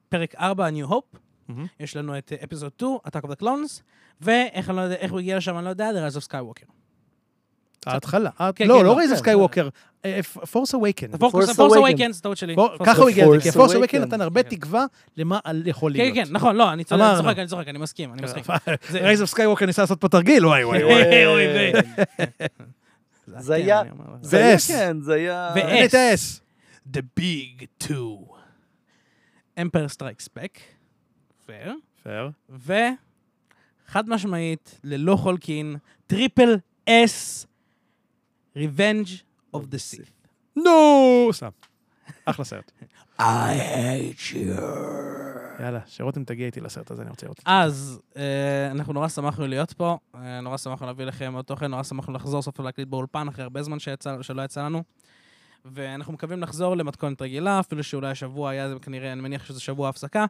A: פרק 4, New Hope,
B: מהמם.
A: יש לנו את אפיזוד 2, Attack of the Clones, ואיך אני לא יודע- איך הוא הגיע לשם, אני לא יודע, The Rise of Skywalker.
B: ההתחלה. ההת-
A: כן,
B: לא,
A: כן,
B: לא
A: לא, כן,
B: Rise of Skywalker, אה, Force Awakens.
A: Force
C: Force
A: Awakens, טעות שלי.
B: בוא,
A: Force
B: ככה הוא הגיע
C: Awakens.
B: לזה, כי הפורס
C: Force
B: אוויקן
C: Awakens,
B: נתן הרבה
A: כן.
B: תקווה למה על- יכול
A: כן,
B: להיות.
A: כן, נכון, לא, אני צודק, אני
B: אמרנו.
A: צוחק, אני צוחק, אני מסכים, אני מסכים. זה-
B: רייז אוף סקייווקר ניסה לעשות פה תרגיל, וואי
C: כן.
B: וואי אה, וואי.
A: (laughs) אוי, אוי, אוי. (laughs)
C: זה היה-
A: כן, אני אומר,
C: זה היה,
B: ו-S.
C: כן, זה היה...
A: ו-S.
B: אין את האס.
A: The Big Two. Emperor Strikes Back. פייר.
B: פייר.
A: וחד משמעית, ללא חולקין, טריפל אס, Revenge of the Sith.
B: נו! סתם. אחלה סרט.
A: I hate you.
B: יאללה, שרותם תגיע איתי לסרט הזה, אני רוצה לראות.
A: אז אה, אנחנו נורא שמחנו להיות פה, אה, נורא שמחנו להביא לכם עוד תוכן, נורא שמחנו לחזור סוף להקליט באולפן אחרי הרבה זמן שיצא, שלא יצא לנו. ואנחנו מקווים לחזור למתכונת רגילה, אפילו שאולי השבוע היה זה כנראה, אני מניח שזה שבוע הפסקה.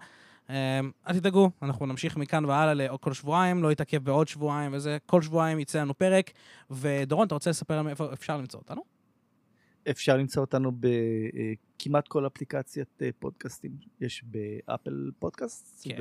A: אה, אל תדאגו, אנחנו נמשיך מכאן והלאה לעוד כל שבועיים, לא יתעכב בעוד שבועיים וזה, כל שבועיים יצא לנו פרק. ודורון, אתה רוצה לספר לנו איפה אפשר למצוא אותנו?
C: אפשר למצוא אותנו בכמעט כל אפליקציית אה, פודקאסטים. יש באפל פודקאסט,
A: כן.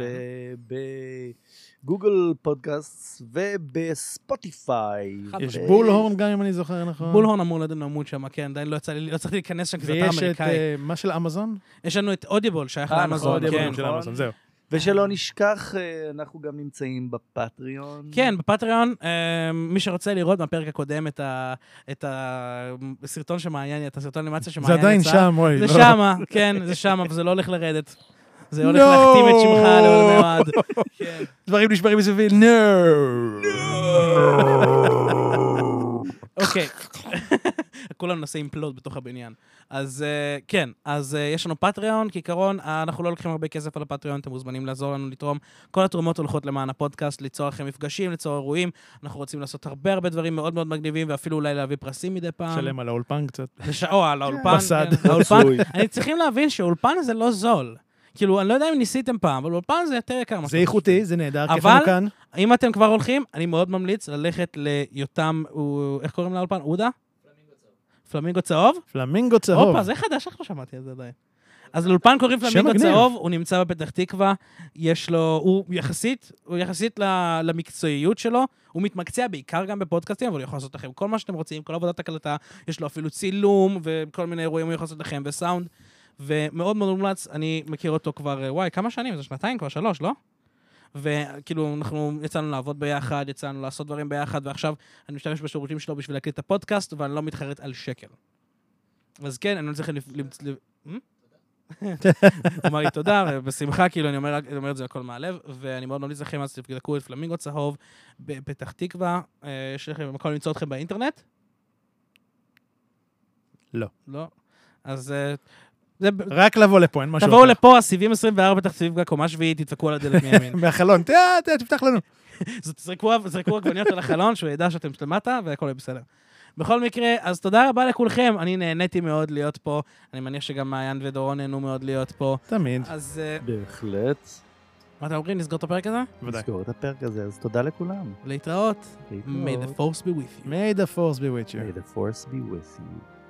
C: בגוגל פודקאסט ובספוטיפיי.
A: חד
B: יש
A: אה,
B: בולהורן גם, אם אני זוכר נכון.
A: בולהורן אמור לדון עמוד שם, כן, עדיין לא יצא לי, לא צריך להיכנס שם, כי זה אתר
B: ויש את
A: אמריקאי.
B: אה, מה של אמזון?
A: יש לנו את אודיבול, שייך
C: אה, נכון,
A: לאמזון,
C: אודיבול,
A: כן.
C: נכון.
B: של אמזון, זהו.
C: ושלא נשכח, אה, אנחנו גם נמצאים בפטריון.
A: כן, בפטריון, אה, מי שרוצה לראות מהפרק הקודם את ה- את הסרטון שמעניין, את הסרטון אנימציה
B: זה
A: שמעניין
B: עדיין
A: יצא,
B: שם, אוי. (laughs)
A: זה
B: לא.
A: שמה, כן, זה שמה, וזה לא הולך לרדת. זה הולך
B: No.
A: להכתים את שמך לעולמי עד. כן.
B: דברים נשברים מסביבי, נו!
A: אוקיי. (laughs) כולם נושאים פלוט בתוך הבניין. אז אה, כן, אז אה, יש לנו פטריון, כעיקרון, אה, אנחנו לא לוקחים הרבה כסף על הפטריון, אתם מוזמנים לעזור לנו לתרום. כל התרומות הולכות למען הפודקאסט, ליצור לכם מפגשים, ליצור אירועים. אנחנו רוצים לעשות הרבה הרבה דברים מאוד מאוד מגניבים, ואפילו אולי להביא פרסים מדי פעם.
B: שלם על האולפן קצת.
A: לש... או, על האולפן.
B: בסד.
A: כן, האולפן.
C: רצוי.
A: אני צריכים להבין שאולפן זה לא זול. כאילו, אני לא יודע אם ניסיתם פעם, אבל אולפן זה יותר יקר. מה
B: זה
A: שאתם
B: איכותי, זה נהדר, כיף
A: אוקיי. אבל-
B: לנו כאן.
A: חושבים. אם אתם כבר הולכים, אני מאוד ממליץ ללכת ליותם, הוא- איך קוראים לאולפן? עודה? פלמינגו צהוב.
B: פלמינגו צהוב.
A: הופה, זה חדש, איך לא שמעתי על זה עדיין? אז לאולפן קוראים
B: שם
A: פלמינגו
B: מגניב.
A: צהוב, הוא נמצא בפתח תקווה, יש לו, הוא יחסית, הוא יחסית ל- למקצועיות שלו, הוא מתמקצע בעיקר גם בפודקאסטים, אבל הוא יכול לעשות לכם כל מה שאתם רוצים, כל עבודת הקלטה, יש לו אפילו צילום וכל מיני אירועים הוא יכול לעשות לכם, וסאונד, ומאוד מאוד מומלץ, אני מכיר אותו כבר, אה, וואי, כמה שנים? זה שנתיים כבר, שלוש, לא? וכאילו, אנחנו יצאנו לעבוד ביחד, יצאנו לעשות דברים ביחד, ועכשיו אני משתמש בשירותים שלו בשביל להקליט את הפודקאסט, ואני לא מתחרט על שקל. אז כן, אני לא צריך לפ- למצ- ל- אמ? (laughs) הוא אמר לי תודה, בשמחה, כאילו, אני אומר, אני אומר את זה הכל מהלב, ואני מאוד ממליץ לכם, אז תבדקו את פלמינגו צהוב בפתח תקווה, אה, יש לכם מקום למצוא אתכם באינטרנט?
B: לא.
A: לא? אז אה, זה... ב-
B: רק לבוא לפה, אין משהו
A: תבואו לפה, הסיבים 24 פתח תקווה, קומה שביעית, תדפקו על הדלת מימין.
B: מהחלון, "תה, תה, תפתח לנו.
A: אז תזרקו תזרקו עגבניות על החלון, שהוא ידע שאתם למטה, והכל יהיה בסדר. בכל מקרה, אז תודה רבה לכולכם, אני נהניתי מאוד להיות פה, אני מניח שגם מעיין ודורון נהנו מאוד להיות פה.
B: תמיד,
A: אז אה,
C: בהחלט.
A: מה אתם אומרים, נסגור את הפרק הזה?
B: ודאי.
C: נסגור את הפרק הזה, אז תודה לכולם.
A: להתראות. May the
C: להתראות.
A: force be with you.
B: May the force be with you.
C: May the force be with you.